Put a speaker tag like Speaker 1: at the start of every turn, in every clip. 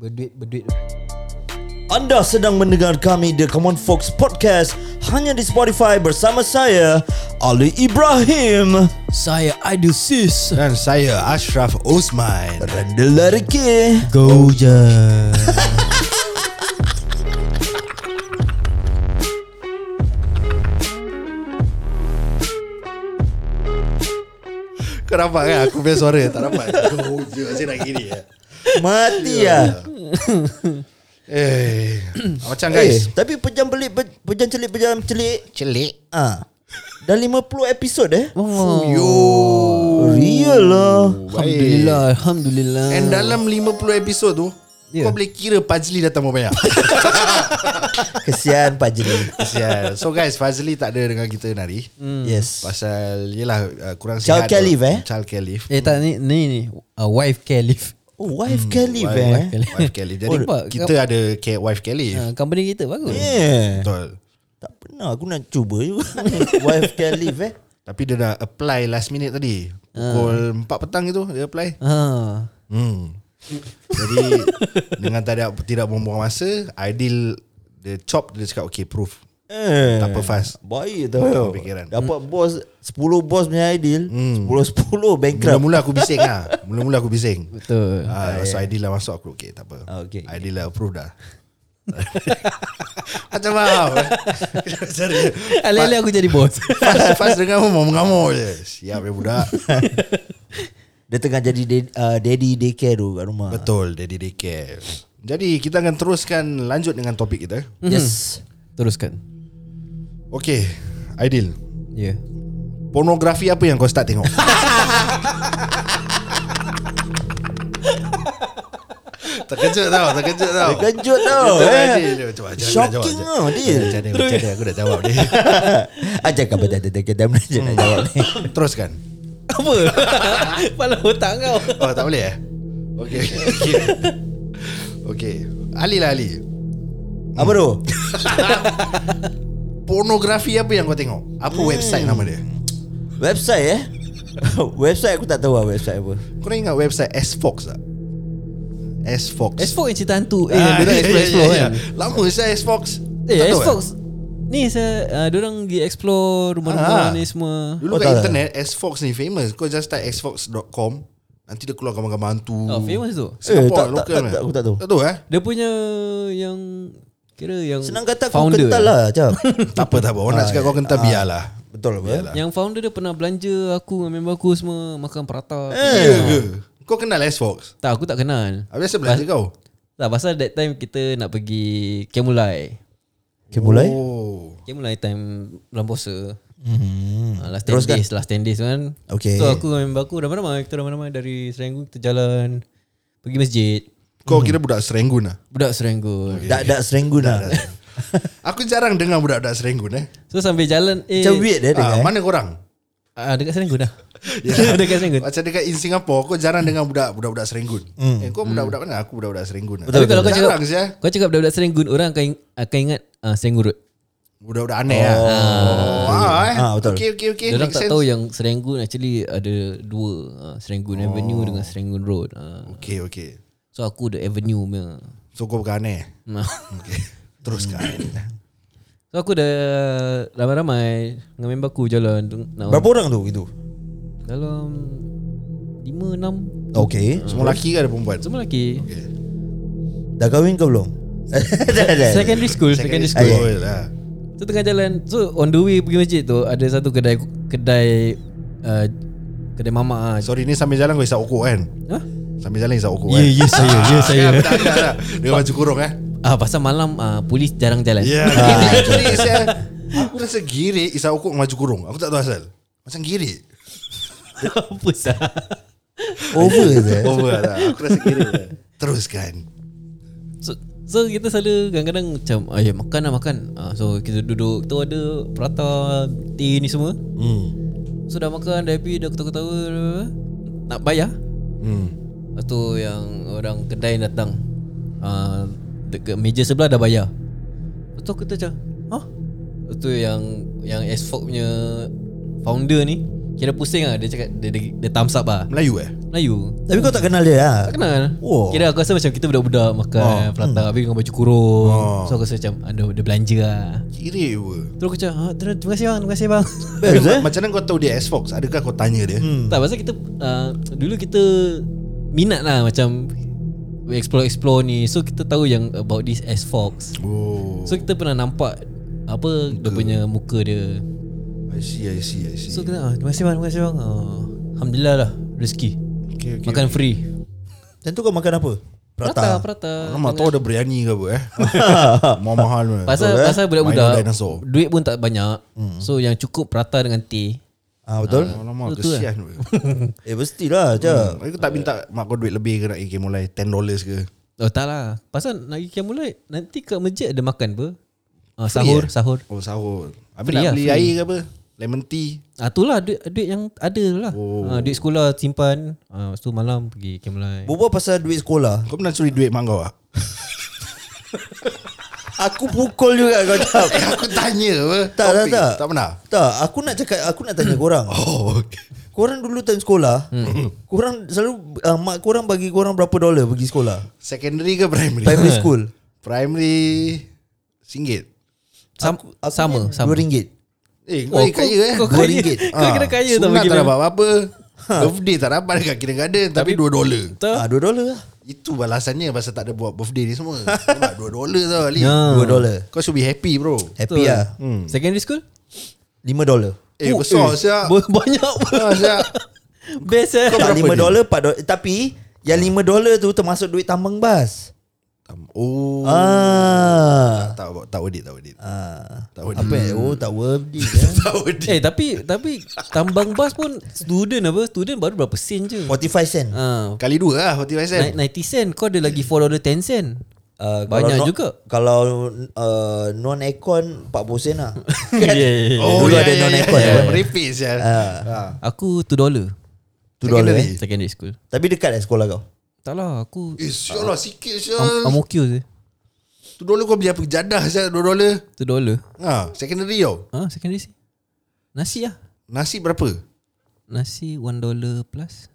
Speaker 1: berduit berduit.
Speaker 2: Anda sedang mendengar kami The Common Fox Podcast hanya di Spotify bersama saya Ali Ibrahim.
Speaker 3: Saya Aidil Sis
Speaker 4: Dan saya Ashraf Osman
Speaker 2: Rendelar ke.
Speaker 1: Go je.
Speaker 4: Kau nampak kan Aku punya suara Tak dapat Go je Saya Oh, nak gini ya.
Speaker 2: Mati ya.
Speaker 4: Eh Macam
Speaker 2: Eh,
Speaker 4: guys
Speaker 2: tapi pejam belit pe- pejam celik pejam celik.
Speaker 3: Celik
Speaker 2: Ah. Dah 50 episod eh.
Speaker 3: oh.
Speaker 4: Yo
Speaker 2: Real lah.
Speaker 3: Alhamdulillah Alhamdulillah
Speaker 4: And dalam 50 episod tu
Speaker 1: Ya.
Speaker 4: Kau boleh kira Pajli datang berapa banyak
Speaker 2: Kesian Pak Jeli.
Speaker 4: Kesian. So guys Fazli tak ada dengan kita nari
Speaker 2: Yes.
Speaker 4: Pasal Yelah uh, Kurang
Speaker 2: Child
Speaker 4: sihat
Speaker 2: care leave, eh?
Speaker 4: Child care leave
Speaker 3: Eh tak ni Ni ni uh, Wife care leave
Speaker 2: Oh, wife care leave
Speaker 3: wife
Speaker 2: eh.
Speaker 3: care
Speaker 4: Hmm, Wife care leave Jadi
Speaker 3: Nampak?
Speaker 4: kita ada care, Wife care leave
Speaker 3: uh, Company kita bagus
Speaker 2: Yeah.
Speaker 4: Betul
Speaker 2: Tak pernah aku nak cuba juga. wife care leave eh.
Speaker 4: Tapi dia dah apply last minute tadi
Speaker 2: Ah.
Speaker 4: Pukul 4 petang itu Dia apply
Speaker 3: Ha.
Speaker 4: Hmm. Jadi dengan tidak tidak membuang masa, Aidil dia chop dia cakap okay proof.
Speaker 2: Eh.
Speaker 4: Tak apa fast.
Speaker 2: Baik
Speaker 4: Apa
Speaker 2: tau
Speaker 4: fikiran?
Speaker 2: Dapat bos 10 bos punya ideal 10-10 bankrupt
Speaker 4: Mula-mula aku bising lah. Mula-mula aku bising.
Speaker 3: Betul
Speaker 4: Ah, so Aidil lah masuk aku okay tak apa.
Speaker 2: Ah, okey.
Speaker 4: Aidil lah approve dah. Macam faham Sorry.
Speaker 3: Alih-alih Ah, aku jadi bos
Speaker 4: Fast, fast dengar pun mau mengamuk je Siap ya budak
Speaker 2: Dia tengah jadi dad, uh, daddy daycare tu kat rumah
Speaker 4: Betul Daddy daycare Jadi kita akan teruskan Lanjut dengan topik kita
Speaker 2: Yes
Speaker 3: Teruskan
Speaker 4: Okay Aidil
Speaker 3: Ya yeah.
Speaker 4: Pornografi apa yang kau start tengok? terkejut tau, terkejut tau.
Speaker 2: Terkejut tau
Speaker 4: Hmm. Betul,
Speaker 2: eh.
Speaker 4: Adil. Cuba, jangan
Speaker 2: Shocking
Speaker 4: jawab,
Speaker 2: tau Adil
Speaker 4: Macam mana, macam mana aku nak jawab dia.
Speaker 2: Ajar kau pada dia Kedam nak jawab ni
Speaker 4: Teruskan.
Speaker 3: Apa? Kepala otak kau
Speaker 4: Oh, tak boleh eh? Okay. Okay. okay. Ali lah Ali.
Speaker 2: Apa tu?
Speaker 4: Pornografi apa yang kau tengok? Apa website nama dia?
Speaker 2: Website eh Website aku tak tahu lah Website apa
Speaker 4: Kau nak ingat website S-Fox tak? S-Fox.
Speaker 3: S4 yang cerita hantu Eh
Speaker 4: Ah,
Speaker 3: dia
Speaker 4: ya,
Speaker 3: orang
Speaker 4: ya,
Speaker 3: explore-explore
Speaker 4: ya, ya.
Speaker 3: kan
Speaker 4: Lama saya S-Fox.
Speaker 3: Eh
Speaker 4: Tak tahu tak?
Speaker 3: S4 Ni saya uh, Diorang pergi explore Rumah-rumah
Speaker 4: Ah.
Speaker 3: ni semua
Speaker 4: Dulu
Speaker 2: Oh,
Speaker 4: kat
Speaker 2: tak.
Speaker 4: internet Xbox ni famous Kau just type xbox.com Nanti dia keluar gambar-gambar hantu
Speaker 3: Oh, famous
Speaker 2: Eh,
Speaker 3: tu.
Speaker 2: tak-
Speaker 4: Singapore eh,
Speaker 2: tak-
Speaker 4: local
Speaker 2: tak-
Speaker 4: man.
Speaker 2: tak- aku tak tahu.
Speaker 4: Tak tahu eh
Speaker 3: Dia punya yang kira yang
Speaker 2: Senang kata aku
Speaker 3: founder eh?
Speaker 2: kental lah Cap
Speaker 4: Tak apa tak apa Orang nak cakap kau kental biarlah
Speaker 2: Ah, ya. Betul apa?
Speaker 3: Yang founder dia pernah belanja aku dengan member aku semua makan
Speaker 2: Eh.
Speaker 3: prata.
Speaker 4: Ya ke Kau kenal Xbox
Speaker 3: Tak, aku tak kenal.
Speaker 4: Habis saya belanja kau
Speaker 3: Tak, pasal that time kita nak pergi Kemulai.
Speaker 2: Okay mulai
Speaker 4: Oh
Speaker 3: Kemulai time bulan puasa.
Speaker 2: Mhm.
Speaker 3: Hmm. last 10 days, last 10 days kan.
Speaker 2: Okay.
Speaker 3: So aku dengan member aku ramai-ramai, kita ramai-ramai dari Serenggun kita jalan pergi masjid.
Speaker 4: Kau
Speaker 2: Hmm.
Speaker 4: kira budak serenggun lah
Speaker 3: Budak Serenggun. Okay.
Speaker 2: Dak-dak serenggun lah
Speaker 4: Aku jarang dengar budak-budak serenggun eh
Speaker 3: So sambil jalan eh
Speaker 2: Macam weird eh
Speaker 4: ah,
Speaker 2: dengar eh.
Speaker 4: Mana korang
Speaker 3: ah, dekat Serenggun dah.
Speaker 2: Ya.
Speaker 4: Yalah.
Speaker 3: dekat Serenggun.
Speaker 4: Macam dekat in Singapore Kau jarang dengar budak Budak-budak serenggun
Speaker 2: Hmm.
Speaker 4: eh, Kau budak-budak mana Aku budak-budak serenggun
Speaker 3: Tapi kalau kau cakap
Speaker 4: Jarang ya. eh. saya
Speaker 3: Kau cakap budak-budak Serenggun Orang akan, ing- akan ingat uh, Serenggun Road
Speaker 4: Budak-budak aneh lah Oh, ah, eh.
Speaker 2: Ah, betul.
Speaker 4: Okay okay okay
Speaker 3: Dia orang
Speaker 4: Make
Speaker 3: tak
Speaker 4: sense.
Speaker 3: tahu ya. yang Serenggun actually ada dua uh, Serenggun oh. Avenue dengan Serenggun Road uh.
Speaker 4: Okay okay
Speaker 3: So aku the avenue punya
Speaker 4: So kau bukan aneh
Speaker 3: Nah.
Speaker 4: okay. Teruskan
Speaker 3: So aku dah ramai-ramai Dengan member aku jalan tu- nak
Speaker 2: Berapa orang tu itu?
Speaker 3: Dalam 5, 6
Speaker 2: Okay
Speaker 4: Semua lelaki ke ada perempuan
Speaker 3: Semua lelaki
Speaker 4: okay.
Speaker 2: Dah kahwin ke belum? Dah dah
Speaker 3: Secondary school Secondary school
Speaker 4: Oh, lah.
Speaker 3: So tengah jalan So on the way pergi masjid tu Ada satu kedai Kedai uh, Kedai mamak ah.
Speaker 4: Sorry ni sambil jalan kau isap okok kan
Speaker 3: Hah?
Speaker 4: Sambil jalan isap okok kan
Speaker 3: yes saya Ya
Speaker 4: Saya Dia baju kurung eh
Speaker 3: Ah pasal malam ah, polis jarang jalan.
Speaker 4: Ya yeah. Actually saya Aku rasa giri isap okok dengan baju kurung Aku tak tahu asal Macam giri
Speaker 3: Apa sah?
Speaker 2: Over je
Speaker 4: Over lah Aku rasa giri Teruskan
Speaker 3: So, so kita selalu kadang-kadang macam ayah makan lah makan. Ah, so kita duduk kita ada prata, teh ni semua.
Speaker 4: hmm.
Speaker 3: So dah makan dah happy dah ketawa-ketawa nak bayar.
Speaker 4: hmm.
Speaker 3: Lepas tu yang orang kedai datang ah, dekat meja sebelah dah bayar. Lepas tu kita macam, "Hah?" Lepas tu yang yang S-Fork punya founder ni Kira pusing lah Dia cakap Dia, dia, dia thumbs up lah
Speaker 4: Melayu eh
Speaker 3: Melayu
Speaker 2: Tapi kau tak kenal dia lah
Speaker 3: Tak kenal
Speaker 2: Oh.
Speaker 3: Kira aku rasa macam Kita budak-budak makan
Speaker 4: Oh.
Speaker 3: oh. Prata Habis dengan baju kurung
Speaker 4: Oh.
Speaker 3: So aku rasa macam Ada dia belanja lah
Speaker 4: Kira apa
Speaker 3: Terus aku cakap "Ah, terus, Terima kasih bang Terima kasih bang
Speaker 4: Tapi
Speaker 2: Best
Speaker 4: ma-
Speaker 2: eh
Speaker 4: Macam mana kau tahu dia Xbox Adakah kau tanya dia hmm.
Speaker 3: Tak pasal kita uh, Dulu kita Minat lah macam we Explore-explore ni So kita tahu yang About this S-Fox
Speaker 4: Oh
Speaker 3: So kita pernah nampak Apa Dia punya muka dia
Speaker 4: I see I see I see
Speaker 3: So kita ah, Terima kasih bang Terima kasih bang Ah, Alhamdulillah lah Rezeki
Speaker 4: okay, okay.
Speaker 3: Makan free
Speaker 2: Dan tu kau makan apa?
Speaker 3: Prata
Speaker 2: Prata
Speaker 3: Prata
Speaker 4: Lama tahu dia berani ke apa eh Mau mahal mana
Speaker 3: Pasal,
Speaker 2: Betul, eh?
Speaker 3: pasal
Speaker 4: Milo
Speaker 3: budak-budak Hmm.
Speaker 4: dinosaur.
Speaker 3: Duit pun tak banyak So yang cukup Prata dengan teh
Speaker 2: Ah Betul
Speaker 4: Lama
Speaker 3: Betul lah.
Speaker 4: kesian apa.
Speaker 2: Eh mestilah je
Speaker 4: Aku tak minta mak kau duit lebih ke nak pergi mulai 10 dollars ke
Speaker 3: Oh tak lah Pasal nak pergi Kiamulai Nanti kat masjid ada makan apa ah, Sahur
Speaker 4: eh?
Speaker 3: Sahur
Speaker 4: Oh sahur Habis
Speaker 3: Free
Speaker 4: nak
Speaker 3: lah,
Speaker 4: beli
Speaker 3: free.
Speaker 4: air ke apa Lemon tea
Speaker 3: Ah itulah duit duit yang ada tu lah. Oh. Ah, duit sekolah simpan. Ah lepas tu malam pergi Kemlai.
Speaker 2: Berbual pasal duit sekolah
Speaker 4: Kau pernah curi duit mak kau ah? tak?
Speaker 2: Aku pukul juga kau cap
Speaker 4: Eh aku tanya apa
Speaker 2: Tak tak
Speaker 4: Topik.
Speaker 2: tak
Speaker 4: Tak pernah
Speaker 2: Tak aku nak cakap Aku nak tanya korang
Speaker 4: Oh okay.
Speaker 2: Korang dulu time sekolah Korang selalu uh, Mak korang bagi korang berapa dolar pergi sekolah
Speaker 4: Secondary ke primary?
Speaker 2: Primary school
Speaker 4: primary Singgit
Speaker 3: Sam, sama sama.
Speaker 2: Dua ringgit
Speaker 4: Eh kau oh, kaya eh
Speaker 3: Kau
Speaker 4: Dua
Speaker 3: kaya.
Speaker 4: ringgit. Ah.
Speaker 3: Kau kira kaya tau
Speaker 4: Sunat
Speaker 3: bagi
Speaker 4: tak
Speaker 3: dia.
Speaker 4: dapat apa-apa Birthday tak dapat dekat kindergarten Ha. Tapi 2 dolar
Speaker 3: Betul?
Speaker 2: ah, Dua dolar lah
Speaker 4: Itu balasannya Pasal tak ada buat birthday ni semua Sebab 2 dolar tau Ali
Speaker 3: Ya.
Speaker 2: Dua dolar
Speaker 4: Kau should be happy bro
Speaker 2: Happy lah
Speaker 3: Hmm. Secondary school?
Speaker 2: Lima dolar
Speaker 4: Eh besar siap
Speaker 3: Bo- Banyak
Speaker 4: Ah, siap
Speaker 3: Best eh.
Speaker 2: Tak
Speaker 4: berapa
Speaker 2: lima
Speaker 4: ni?
Speaker 2: dolar empat dolar Tapi Yang lima dolar tu termasuk duit tambang bas
Speaker 4: Um, Oh
Speaker 2: Ah,
Speaker 4: Tak tak worth it Tak worth it
Speaker 2: ah.
Speaker 4: Tak worth it
Speaker 2: Apa eh? Oh tak worth it eh.
Speaker 4: Tak worth it
Speaker 3: Eh tapi tapi tambang bas pun student apa? Student baru berapa sen je.
Speaker 2: 45 sen
Speaker 3: Ah,
Speaker 4: Kali dua lah 45 sen
Speaker 3: ni- 90 sen kau ada lagi 4 dollar 10 sen.
Speaker 2: Uh,
Speaker 3: Banyak
Speaker 2: kalau no-
Speaker 3: juga.
Speaker 2: Kalau uh, non aircon 40 sen lah
Speaker 3: Yeah, yeah, yeah.
Speaker 4: Oh
Speaker 2: Dulu
Speaker 4: ya
Speaker 2: ada eh. Ah.
Speaker 4: ya ya
Speaker 2: non-aircon
Speaker 4: ya.
Speaker 2: apa?
Speaker 4: Repeat ya
Speaker 3: Aku 2 dollar
Speaker 2: Tu dolar eh.
Speaker 3: secondary school.
Speaker 2: Tapi dekat eh sekolah kau
Speaker 3: Tak lah aku
Speaker 4: Eh sial lah sikit
Speaker 3: Am-
Speaker 4: sial
Speaker 3: Amokyo je.
Speaker 4: Tu dolar kau beli apa jadah sial 2 dolar
Speaker 3: 2 dollar.
Speaker 4: Ha secondary tau
Speaker 3: Ah, secondary school. Nasi lah.
Speaker 4: Nasi berapa?
Speaker 3: Nasi one dollar plus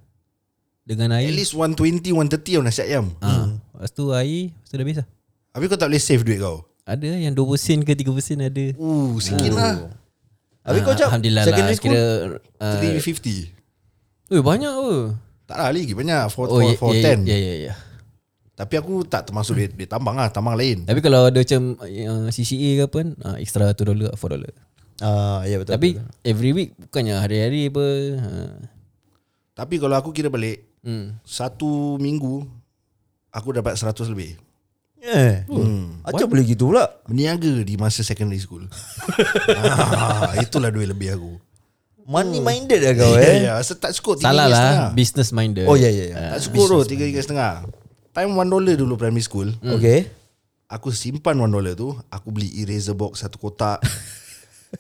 Speaker 3: Dengan
Speaker 4: At
Speaker 3: air
Speaker 4: least 120 130 tau nasi ayam
Speaker 2: Ah.
Speaker 3: ha. Lepas tu air Lepas tu dah habis lah
Speaker 4: Habis kau tak boleh save duit kau
Speaker 3: Ada yang 20 sen ke 30 sen ada
Speaker 4: Uh
Speaker 2: Oh.
Speaker 4: sikit lah
Speaker 2: Habis kau
Speaker 3: Ah,
Speaker 2: cap
Speaker 3: Alhamdulillah lah
Speaker 2: Secondary school
Speaker 3: Kira
Speaker 2: Ah.
Speaker 3: uh,
Speaker 4: 350
Speaker 3: Ui banyak ke
Speaker 4: Tak lah lagi banyak 4,
Speaker 3: Oh ya ya,
Speaker 4: 410
Speaker 3: ya ya ya
Speaker 4: Tapi aku tak termasuk duit, duit tambang lah Tambang lain
Speaker 3: Tapi kalau ada macam uh, CCA ke apa uh, Extra 2 dollar 4 dollar
Speaker 2: Ah, ya betul.
Speaker 3: Tapi every week Bukannya hari-hari apa uh,
Speaker 4: Tapi kalau aku kira balik
Speaker 3: hmm.
Speaker 4: Satu minggu Aku dapat 100 lebih
Speaker 2: eh. Hmm. Acap boleh gitu pula.
Speaker 4: Berniaga di masa secondary school ah, Itulah duit lebih aku
Speaker 2: Money minded lah kau
Speaker 4: Ya,
Speaker 2: eh.
Speaker 4: ya, Asal tak cukup tiga
Speaker 3: Oh, Salah
Speaker 4: ringgit
Speaker 3: lah
Speaker 4: setengah.
Speaker 3: Business minded
Speaker 2: Oh ya ya ya.
Speaker 4: Tak cukup tu tiga ringgit setengah Time one dollar dulu primary school
Speaker 2: Okay.
Speaker 4: Aku simpan one dollar tu Aku beli eraser box satu kotak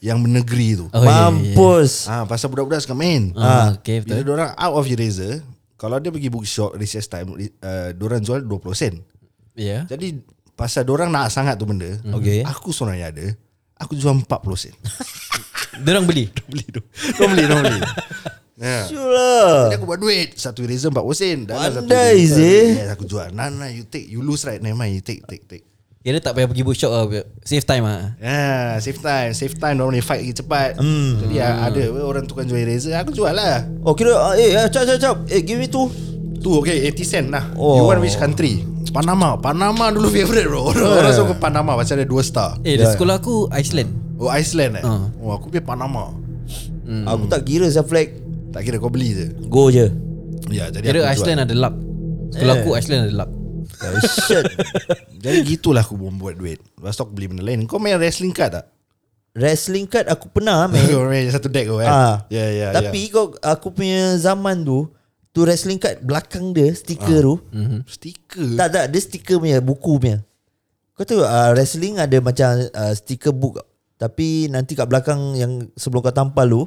Speaker 4: Yang menegeri tu
Speaker 3: Oh, ya, ya, ya.
Speaker 2: Mampus.
Speaker 4: ah, Pasal budak-budak suka main
Speaker 3: Ah, okay,
Speaker 4: Bila
Speaker 3: betul.
Speaker 4: diorang out of eraser Kalau dia pergi bookshop recess time uh, Diorang jual 20 sen
Speaker 3: Ya
Speaker 4: Jadi pasal diorang nak sangat tu benda
Speaker 2: Okay.
Speaker 4: Aku seorang yang ada Aku jual 40 sen
Speaker 3: Diorang beli
Speaker 4: Beli tu Diorang beli, diorang beli Ya.
Speaker 2: Sure lah.
Speaker 4: Jadi aku buat duit Satu eraser 40 sen Dalam satu
Speaker 2: Pandai,
Speaker 4: eraser.
Speaker 2: Zee.
Speaker 4: Yes aku jual Nah nah you take You lose right Never mind you take take take
Speaker 3: Kira tak payah pergi bookshop lah Save time lah
Speaker 4: Ah, save time Save time Orang ni fight lagi cepat Jadi ah, ada apa, Orang tukang jual eraser Aku jual lah
Speaker 2: Oh kira ah, eh ah, cap cap cap. Eh give me tu.
Speaker 4: Tu okay 80 sen lah
Speaker 2: Oh.
Speaker 4: You want which country Panama Panama dulu favourite bro Eh. Orang, orang suka Panama Pasal ada 2 star
Speaker 3: Eh
Speaker 2: Ya.
Speaker 3: yeah. sekolah aku Iceland
Speaker 4: Oh Iceland eh
Speaker 3: Ah.
Speaker 4: Oh aku pergi Panama
Speaker 2: Aku tak kira saya flag.
Speaker 4: Tak kira kau beli je
Speaker 2: Go je.
Speaker 4: Ya jadi
Speaker 3: Kira
Speaker 4: aku
Speaker 3: Iceland
Speaker 4: jual.
Speaker 3: ada luck Sekolah
Speaker 2: Eh.
Speaker 3: aku Iceland ada luck
Speaker 2: Oh, Shit.
Speaker 4: Jadi gitulah aku buat duit Lepas tu aku beli benda lain Kau main wrestling card tak?
Speaker 2: Wrestling card aku pernah main.
Speaker 4: Kau main satu deck kau eh
Speaker 2: Ah.
Speaker 4: Ya ya ya
Speaker 2: Tapi kau aku punya zaman tu tu wrestling card belakang dia stiker tu.
Speaker 4: Mhm. Stiker
Speaker 2: Tak tak dia stiker punya buku punya. Kau tahu uh, wrestling ada macam uh, stiker book tapi nanti kat belakang yang sebelum kau tampal tu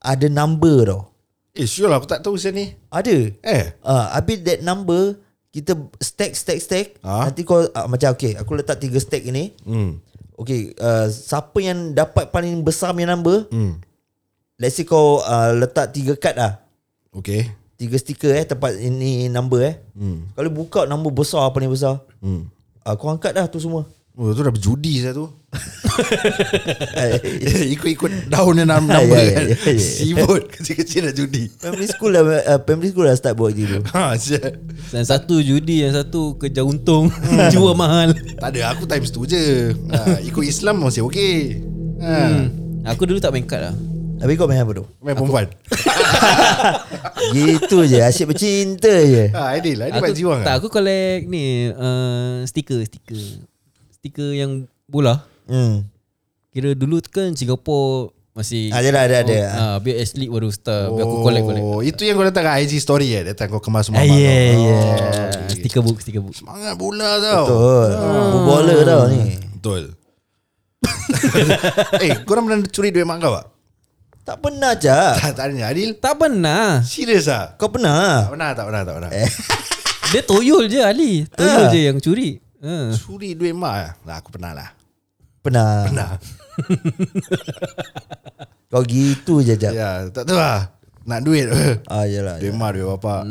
Speaker 2: ada number tau.
Speaker 4: Eh sure lah aku tak tahu siapa ni
Speaker 2: Ada.
Speaker 4: Eh
Speaker 2: Ah uh, habis that number kita stack stack stack
Speaker 4: Ah.
Speaker 2: nanti kau uh, macam okay aku letak tiga stack ini.
Speaker 4: hmm.
Speaker 2: Okay uh, siapa yang dapat paling besar punya number
Speaker 4: Hmm.
Speaker 2: Let's say kau uh, letak tiga kad lah
Speaker 4: Okay
Speaker 2: Tiga stiker eh Tempat ini number eh hmm. Kalau buka number besar Apa ni besar hmm. uh, Kau angkat dah tu semua
Speaker 4: Oh tu dah berjudi saya tu
Speaker 2: Eh,
Speaker 4: Ikut-ikut daun dan number
Speaker 2: Ya, ya,
Speaker 4: kan
Speaker 2: ya, ya, ya.
Speaker 4: Sibut Kecil-kecil dah judi
Speaker 2: Primary school dah uh, Primary school dah start buat gitu
Speaker 4: Ha siap
Speaker 3: Yang satu judi Yang satu kerja untung Jual mahal
Speaker 4: Tak ada aku times tu je ha, Ikut Islam masih okey
Speaker 3: Hmm.
Speaker 4: ha,
Speaker 3: Aku dulu tak main kad lah
Speaker 2: Habis kau main apa tu
Speaker 4: Main perempuan
Speaker 2: Gitu je Asyik bercinta je
Speaker 4: ha, Aidil Aidil
Speaker 3: aku,
Speaker 4: buat jiwang
Speaker 3: Tak aku collect ni uh, Stiker Stiker Stiker yang bola
Speaker 2: hmm.
Speaker 3: Kira dulu tu kan Singapore Masih
Speaker 2: Ada lah ada ada
Speaker 3: Ah, ha, Biar athlete baru start Biar aku collect collect
Speaker 4: Oh, Itu yang kau letak kat IG story eh Datang kau kemas
Speaker 3: Ah,
Speaker 4: mamak
Speaker 3: yeah, yeah.
Speaker 4: kau.
Speaker 3: Oh, stiker book, stiker book.
Speaker 4: Semangat bola tau
Speaker 2: Betul Oh, Footballer tau ni
Speaker 4: Betul Eh korang pernah curi duit mak kau tak?
Speaker 2: Tak pernah cak
Speaker 4: Tak tanya Aidil
Speaker 3: Tak pernah.
Speaker 4: Serius tak?
Speaker 2: Kau pernah
Speaker 4: Tak pernah tak pernah tak pernah
Speaker 3: Eh. Dia toyol je Ali. Toyol
Speaker 2: Ah.
Speaker 3: je yang curi. Ha.
Speaker 4: Curi duit mak eh? Nah, aku pernah lah
Speaker 2: Pernah
Speaker 4: Pernah
Speaker 2: Kau gitu je cak
Speaker 4: Ya tak tahu lah Nak duit
Speaker 2: Ah yalah
Speaker 4: Duit mak duit bapak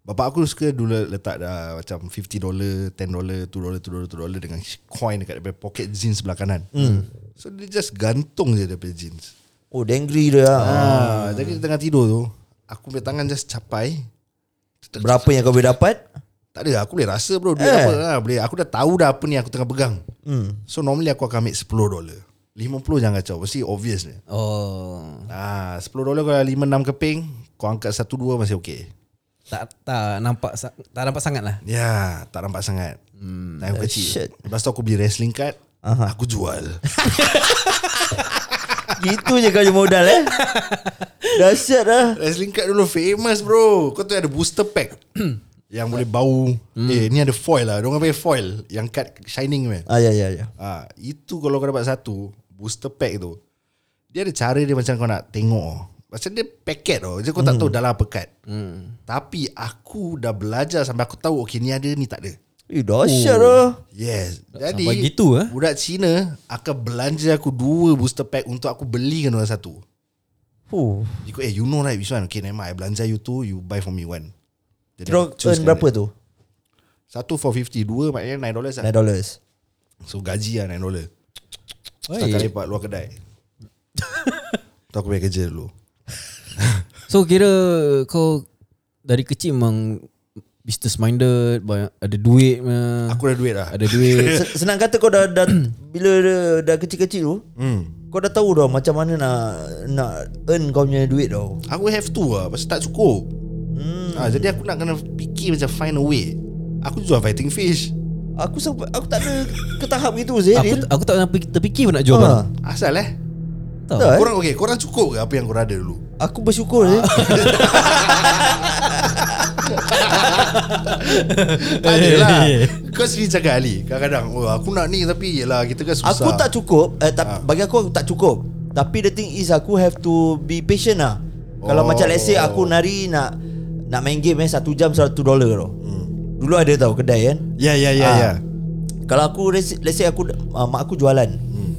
Speaker 4: Bapak aku suka dulu letak dah macam $50, $10, $2, $2, $2 dengan coin dekat daripada pocket jeans sebelah kanan. So dia just gantung je daripada jeans.
Speaker 2: Oh dengri dia lah.
Speaker 4: Ah, jadi dia tengah tidur tu, aku punya tangan just capai.
Speaker 2: Berapa yang kau boleh dapat
Speaker 4: Tak ada, aku boleh rasa bro duit apa lah. Boleh, aku dah tahu dah apa ni aku tengah pegang. So normally aku akan ambil $10. 50 jangan kacau, mesti obvious ni.
Speaker 3: Oh.
Speaker 4: Ah, $10 kalau 5 6 keping, kau angkat 1 2 masih okey.
Speaker 3: Tak tak nampak sa- tak nampak sangat lah.
Speaker 4: Ya, tak nampak sangat. Hmm, aku
Speaker 2: shit.
Speaker 4: kecil. Lepas tu aku beli wrestling card,
Speaker 2: Aha.
Speaker 4: aku jual.
Speaker 2: Gitu je kau punya modal eh Dahsyat lah
Speaker 4: wrestling card dulu famous bro. Kau tu ada booster pack. yang boleh bau.
Speaker 2: Hmm.
Speaker 4: Eh, ni ada foil lah. Diorang pakai foil. Yang card shining man.
Speaker 2: Ah ya ya ya
Speaker 4: Ah, itu kalau kau dapat satu, booster pack tu. Dia ada cara dia macam kau nak tengok. oh. Macam dia paket tau. Jadi kau
Speaker 2: Hmm.
Speaker 4: tak tahu dalam apa card. Tapi aku dah belajar sampai aku tahu okay ni ada ni tak ada.
Speaker 2: Eh dahsyat lah
Speaker 4: Yes. Jadi
Speaker 3: sampai gitu, eh?
Speaker 4: budak Cina akan belanja aku dua booster pack untuk aku belikan orang satu.
Speaker 2: Huh.
Speaker 4: You go, eh you know right which one? Okay, never mind. I belanja you two, you buy for me one. Jadi
Speaker 2: Kira
Speaker 4: aku choose
Speaker 2: earn berapa
Speaker 4: kan dia.
Speaker 2: tu
Speaker 4: Satu for 50, dua maknanya nine dollars lah.
Speaker 2: $9 dollars
Speaker 4: So gaji lah nine dollar. Setengah kali
Speaker 3: Oi.
Speaker 4: lipat luar kedai. tu aku pergi kerja dulu.
Speaker 3: Hmm. So kira kau dari kecil memang business minded, banyak ada duit punya.
Speaker 4: Aku dah duit lah.
Speaker 3: ada duit.
Speaker 2: Senang kata kau dah, dah Bila dah, dah kecil-kecil tu
Speaker 4: Hmm.
Speaker 2: Kau dah tahu dah macam mana nak nak earn kau punya duit tau.
Speaker 4: Aku have to lah pasal tak cukup. Hmm. Ha, jadi aku nak kena fikir macam find a way. Aku jual fighting fish.
Speaker 2: Aku sampai aku tak ada ke tahap gitu Eh? Ah, Zaid.
Speaker 3: aku
Speaker 2: Aku
Speaker 3: aku tak pernah pi- terfikir pun nak jual barang.
Speaker 4: Asal eh?
Speaker 3: Tahu.
Speaker 2: tak.
Speaker 4: Korang okay, korang cukup ke apa yang korang ada dulu?
Speaker 2: aku bersyukur Zaid.
Speaker 4: Tak ada lah Kau sendiri cakap Ali Kadang-kadang oh, Aku nak ni tapi Yelah kita kan susah Ah.
Speaker 2: Aku tak cukup eh, tapi bagi aku aku tak cukup. Tapi the thing is aku have to be patient lah. Kalau
Speaker 4: Oh.
Speaker 2: macam let's say aku nari nak nak main game eh 1 jam 100 dolar tau. Dulu ada tau kedai kan.
Speaker 4: Ya ya Hmm. ya
Speaker 2: Ah.
Speaker 4: ya
Speaker 2: Kalau aku let's let's say aku uh, mak aku jualan.
Speaker 4: Hmm.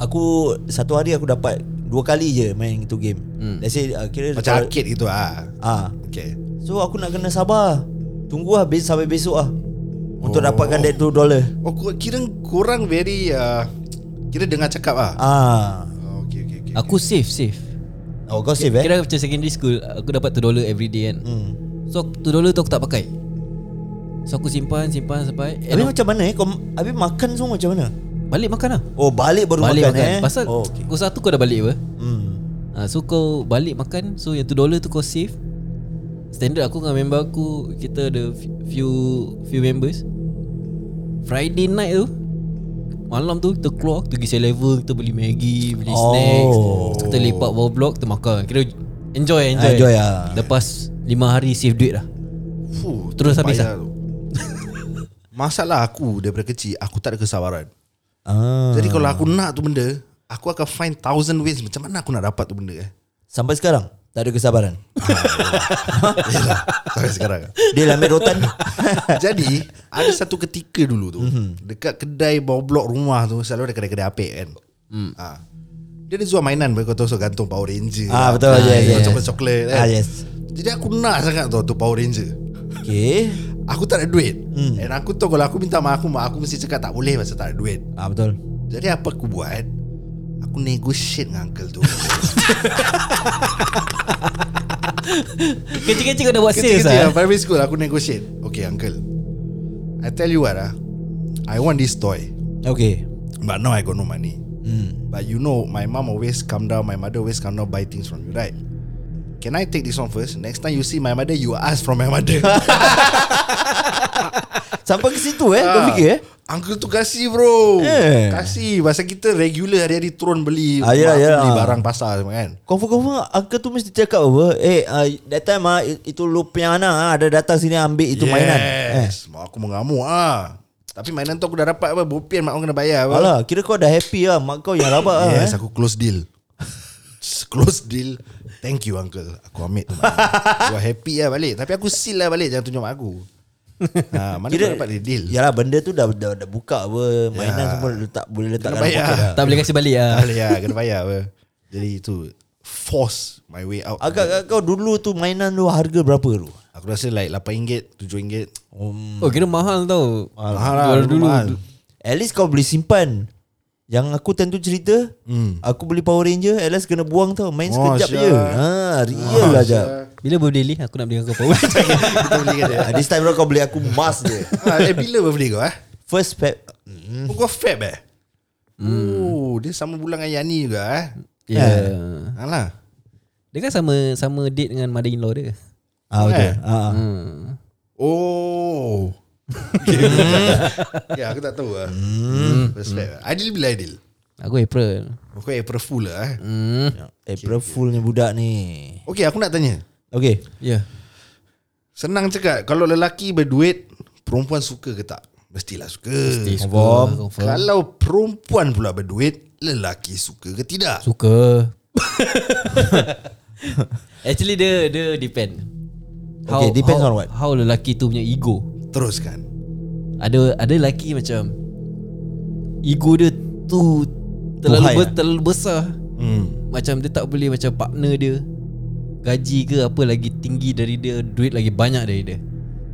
Speaker 2: Aku satu hari aku dapat dua kali je main itu game. Let's say uh, kira
Speaker 4: Hmm. Macam
Speaker 2: kalau-
Speaker 4: arcade gitu ah.
Speaker 2: ah
Speaker 4: Okay
Speaker 2: So aku nak kena sabar Tunggu lah bes- sampai besok lah Untuk oh. dapatkan that 2 dollar
Speaker 4: Oh kor- kira korang very uh, Kira dengar cakap ah.
Speaker 2: Ah,
Speaker 4: Oh, okay, okay, okay.
Speaker 3: Aku save save.
Speaker 2: Oh kau save eh
Speaker 3: Kira macam secondary school Aku dapat $2 every day kan hmm. So $2 tu aku tak pakai So aku simpan simpan sampai eh,
Speaker 2: Habis
Speaker 3: no,
Speaker 2: macam mana eh kau, Habis makan semua macam mana
Speaker 3: Balik makan lah
Speaker 2: Oh balik baru
Speaker 3: Balik
Speaker 2: makan,
Speaker 3: makan,
Speaker 2: eh
Speaker 3: Pasal
Speaker 2: oh,
Speaker 3: oh,
Speaker 2: okay.
Speaker 3: kau satu kau dah balik apa
Speaker 2: hmm.
Speaker 3: ha, So kau balik makan So yang $2 tu kau save Standard aku dengan member aku Kita ada f- few few members Friday night tu Malam tu kita keluar Kita pergi level Kita beli Maggi Beli
Speaker 2: Oh.
Speaker 3: snacks Kita lepak bawah blok Kita makan Kira enjoy
Speaker 4: Ah,
Speaker 3: enjoy,
Speaker 2: Enjoy lah.
Speaker 3: Lepas 5 hari save duit lah
Speaker 4: Fuh,
Speaker 3: Terus
Speaker 4: tu
Speaker 3: habis
Speaker 4: payah
Speaker 2: ah?
Speaker 4: tu. Masalah aku daripada kecil Aku tak ada kesabaran
Speaker 2: ah.
Speaker 4: Jadi kalau aku nak tu benda Aku akan find thousand ways Macam mana aku nak dapat tu benda eh
Speaker 2: Sampai sekarang Tak ada kesabaran
Speaker 4: Yelah, Sampai sekarang
Speaker 2: Dia lah ambil rotan
Speaker 4: Jadi ada satu ketika
Speaker 2: Mhm. Hmm.
Speaker 4: dulu tu mm-hmm. dekat kedai bawah blok rumah tu selalu ada kedai-kedai apek kan. Mm. Ha. Dia ada jual mainan Kau tahu so gantung Power Ranger lah.
Speaker 2: Ah, betul, yes, yes.
Speaker 4: Coklat-coklat kan?
Speaker 2: Ah, yes.
Speaker 4: Jadi aku nak sangat tau Tu Power Ranger
Speaker 2: Okay
Speaker 4: Aku tak ada duit hmm. And aku tahu Kalau aku minta mak aku Mak aku mesti cakap tak boleh Pasal tak ada duit
Speaker 2: ah, Betul
Speaker 4: Jadi apa aku buat Aku negotiate dengan uncle tu
Speaker 3: Kecil-kecil kau dah buat sales
Speaker 4: Kecil-kecil
Speaker 3: lah
Speaker 4: lah Primary school Aku negotiate Okay uncle I tell you what lah I want this toy
Speaker 2: Okay
Speaker 4: But now I got no money
Speaker 2: Hmm.
Speaker 4: But you know My mom always come down My mother always come down Buy things from you right Can I take this one first Next time you see my mother You ask from my mother
Speaker 2: Sampai ke situ eh Kau
Speaker 4: Ah.
Speaker 2: fikir eh
Speaker 4: Uncle tu kasih bro
Speaker 2: Eh.
Speaker 4: Kasih Pasal kita regular Hari-hari turun beli
Speaker 2: Ah, yelah,
Speaker 4: Mak aku
Speaker 2: yelah.
Speaker 4: Beli barang pasar semua kan
Speaker 2: Confirm-confirm Uncle tu mesti cakap apa Eh uh, that time ah, it- Itu lu punya anak ah, Ada datang sini ambil itu mainan eh.
Speaker 4: Yes. Mak aku mengamuk ah. Tapi mainan tu aku dah dapat apa Bopian mak aku kena bayar apa
Speaker 2: Alah kira kau dah happy lah Mak kau yang rabak
Speaker 3: Uh,
Speaker 2: lah
Speaker 4: Yes,
Speaker 2: eh.
Speaker 4: aku close deal. close deal. Thank you uncle. Aku ambil tu. Aku happy lah balik. Tapi aku seal lah balik jangan tunjuk mak aku. Ha, mana kau dapat dia deal?
Speaker 3: Ya,
Speaker 2: Yalah benda tu dah, dah, dah buka apa Mainan
Speaker 4: Ya.
Speaker 2: semua letak Boleh letak
Speaker 4: Kena
Speaker 2: dalam
Speaker 4: bayar.
Speaker 2: poket lah.
Speaker 3: Tak boleh kasih balik lah
Speaker 4: Tak boleh lah, kena bayar apa. Jadi itu force my way out.
Speaker 2: Agak kau dulu tu mainan tu harga berapa tu?
Speaker 4: Aku rasa like RM8, RM7.
Speaker 2: Um,
Speaker 3: Oh kira mahal tau
Speaker 4: Mahal lah,
Speaker 3: Jual dulu
Speaker 4: mahal.
Speaker 2: at least kau boleh simpan. Yang aku tentu cerita, hmm. aku beli Power Ranger, at least kena buang tau. Main
Speaker 4: Oh,
Speaker 2: sekejap
Speaker 4: sure.
Speaker 2: je. Ha, real lah jap.
Speaker 3: Bila boleh beli Aku nak beli dengan kau power
Speaker 4: Kita beli kan dia.
Speaker 2: Ah, This time round kau beli aku mask je.
Speaker 4: Ha, eh, bila birthday kau eh?
Speaker 2: First Feb.
Speaker 3: Hmm.
Speaker 4: Oh, kau Feb eh? Oh, dia sama bulan dengan Yani juga eh?
Speaker 3: Ya yeah.
Speaker 4: Alah.
Speaker 3: Dia kan sama Sama date dengan mother-in-law dia
Speaker 2: Ah, betul.
Speaker 4: Eh.
Speaker 2: Ah, ah.
Speaker 3: hmm.
Speaker 4: Oh. okay. ya, aku tak tahu lah. Hmm. Respect. Adil bila Adil?
Speaker 3: Aku April
Speaker 4: Kau April Fool lah eh.
Speaker 3: hmm.
Speaker 2: April Fool ni budak ni.
Speaker 4: Okay, aku nak tanya.
Speaker 2: Okay.
Speaker 3: Ya yeah.
Speaker 4: Senang cakap, kalau lelaki berduit, perempuan suka ke tak? Mestilah suka. Mesti
Speaker 2: Confirm.
Speaker 3: Confirm
Speaker 4: Kalau perempuan pula berduit, lelaki suka ke tidak?
Speaker 3: Suka Actually dia Dia depend
Speaker 2: Okay, depends on
Speaker 3: how,
Speaker 2: what?
Speaker 3: How lelaki tu punya ego
Speaker 4: Teruskan.
Speaker 3: Ada ada lelaki macam Ego dia tu Terlalu,
Speaker 2: high
Speaker 3: ber,
Speaker 2: ah?
Speaker 3: terlalu besar
Speaker 4: Hmm.
Speaker 3: Macam dia tak boleh Macam partner dia Gaji ke apa lagi tinggi dari dia Duit lagi banyak dari dia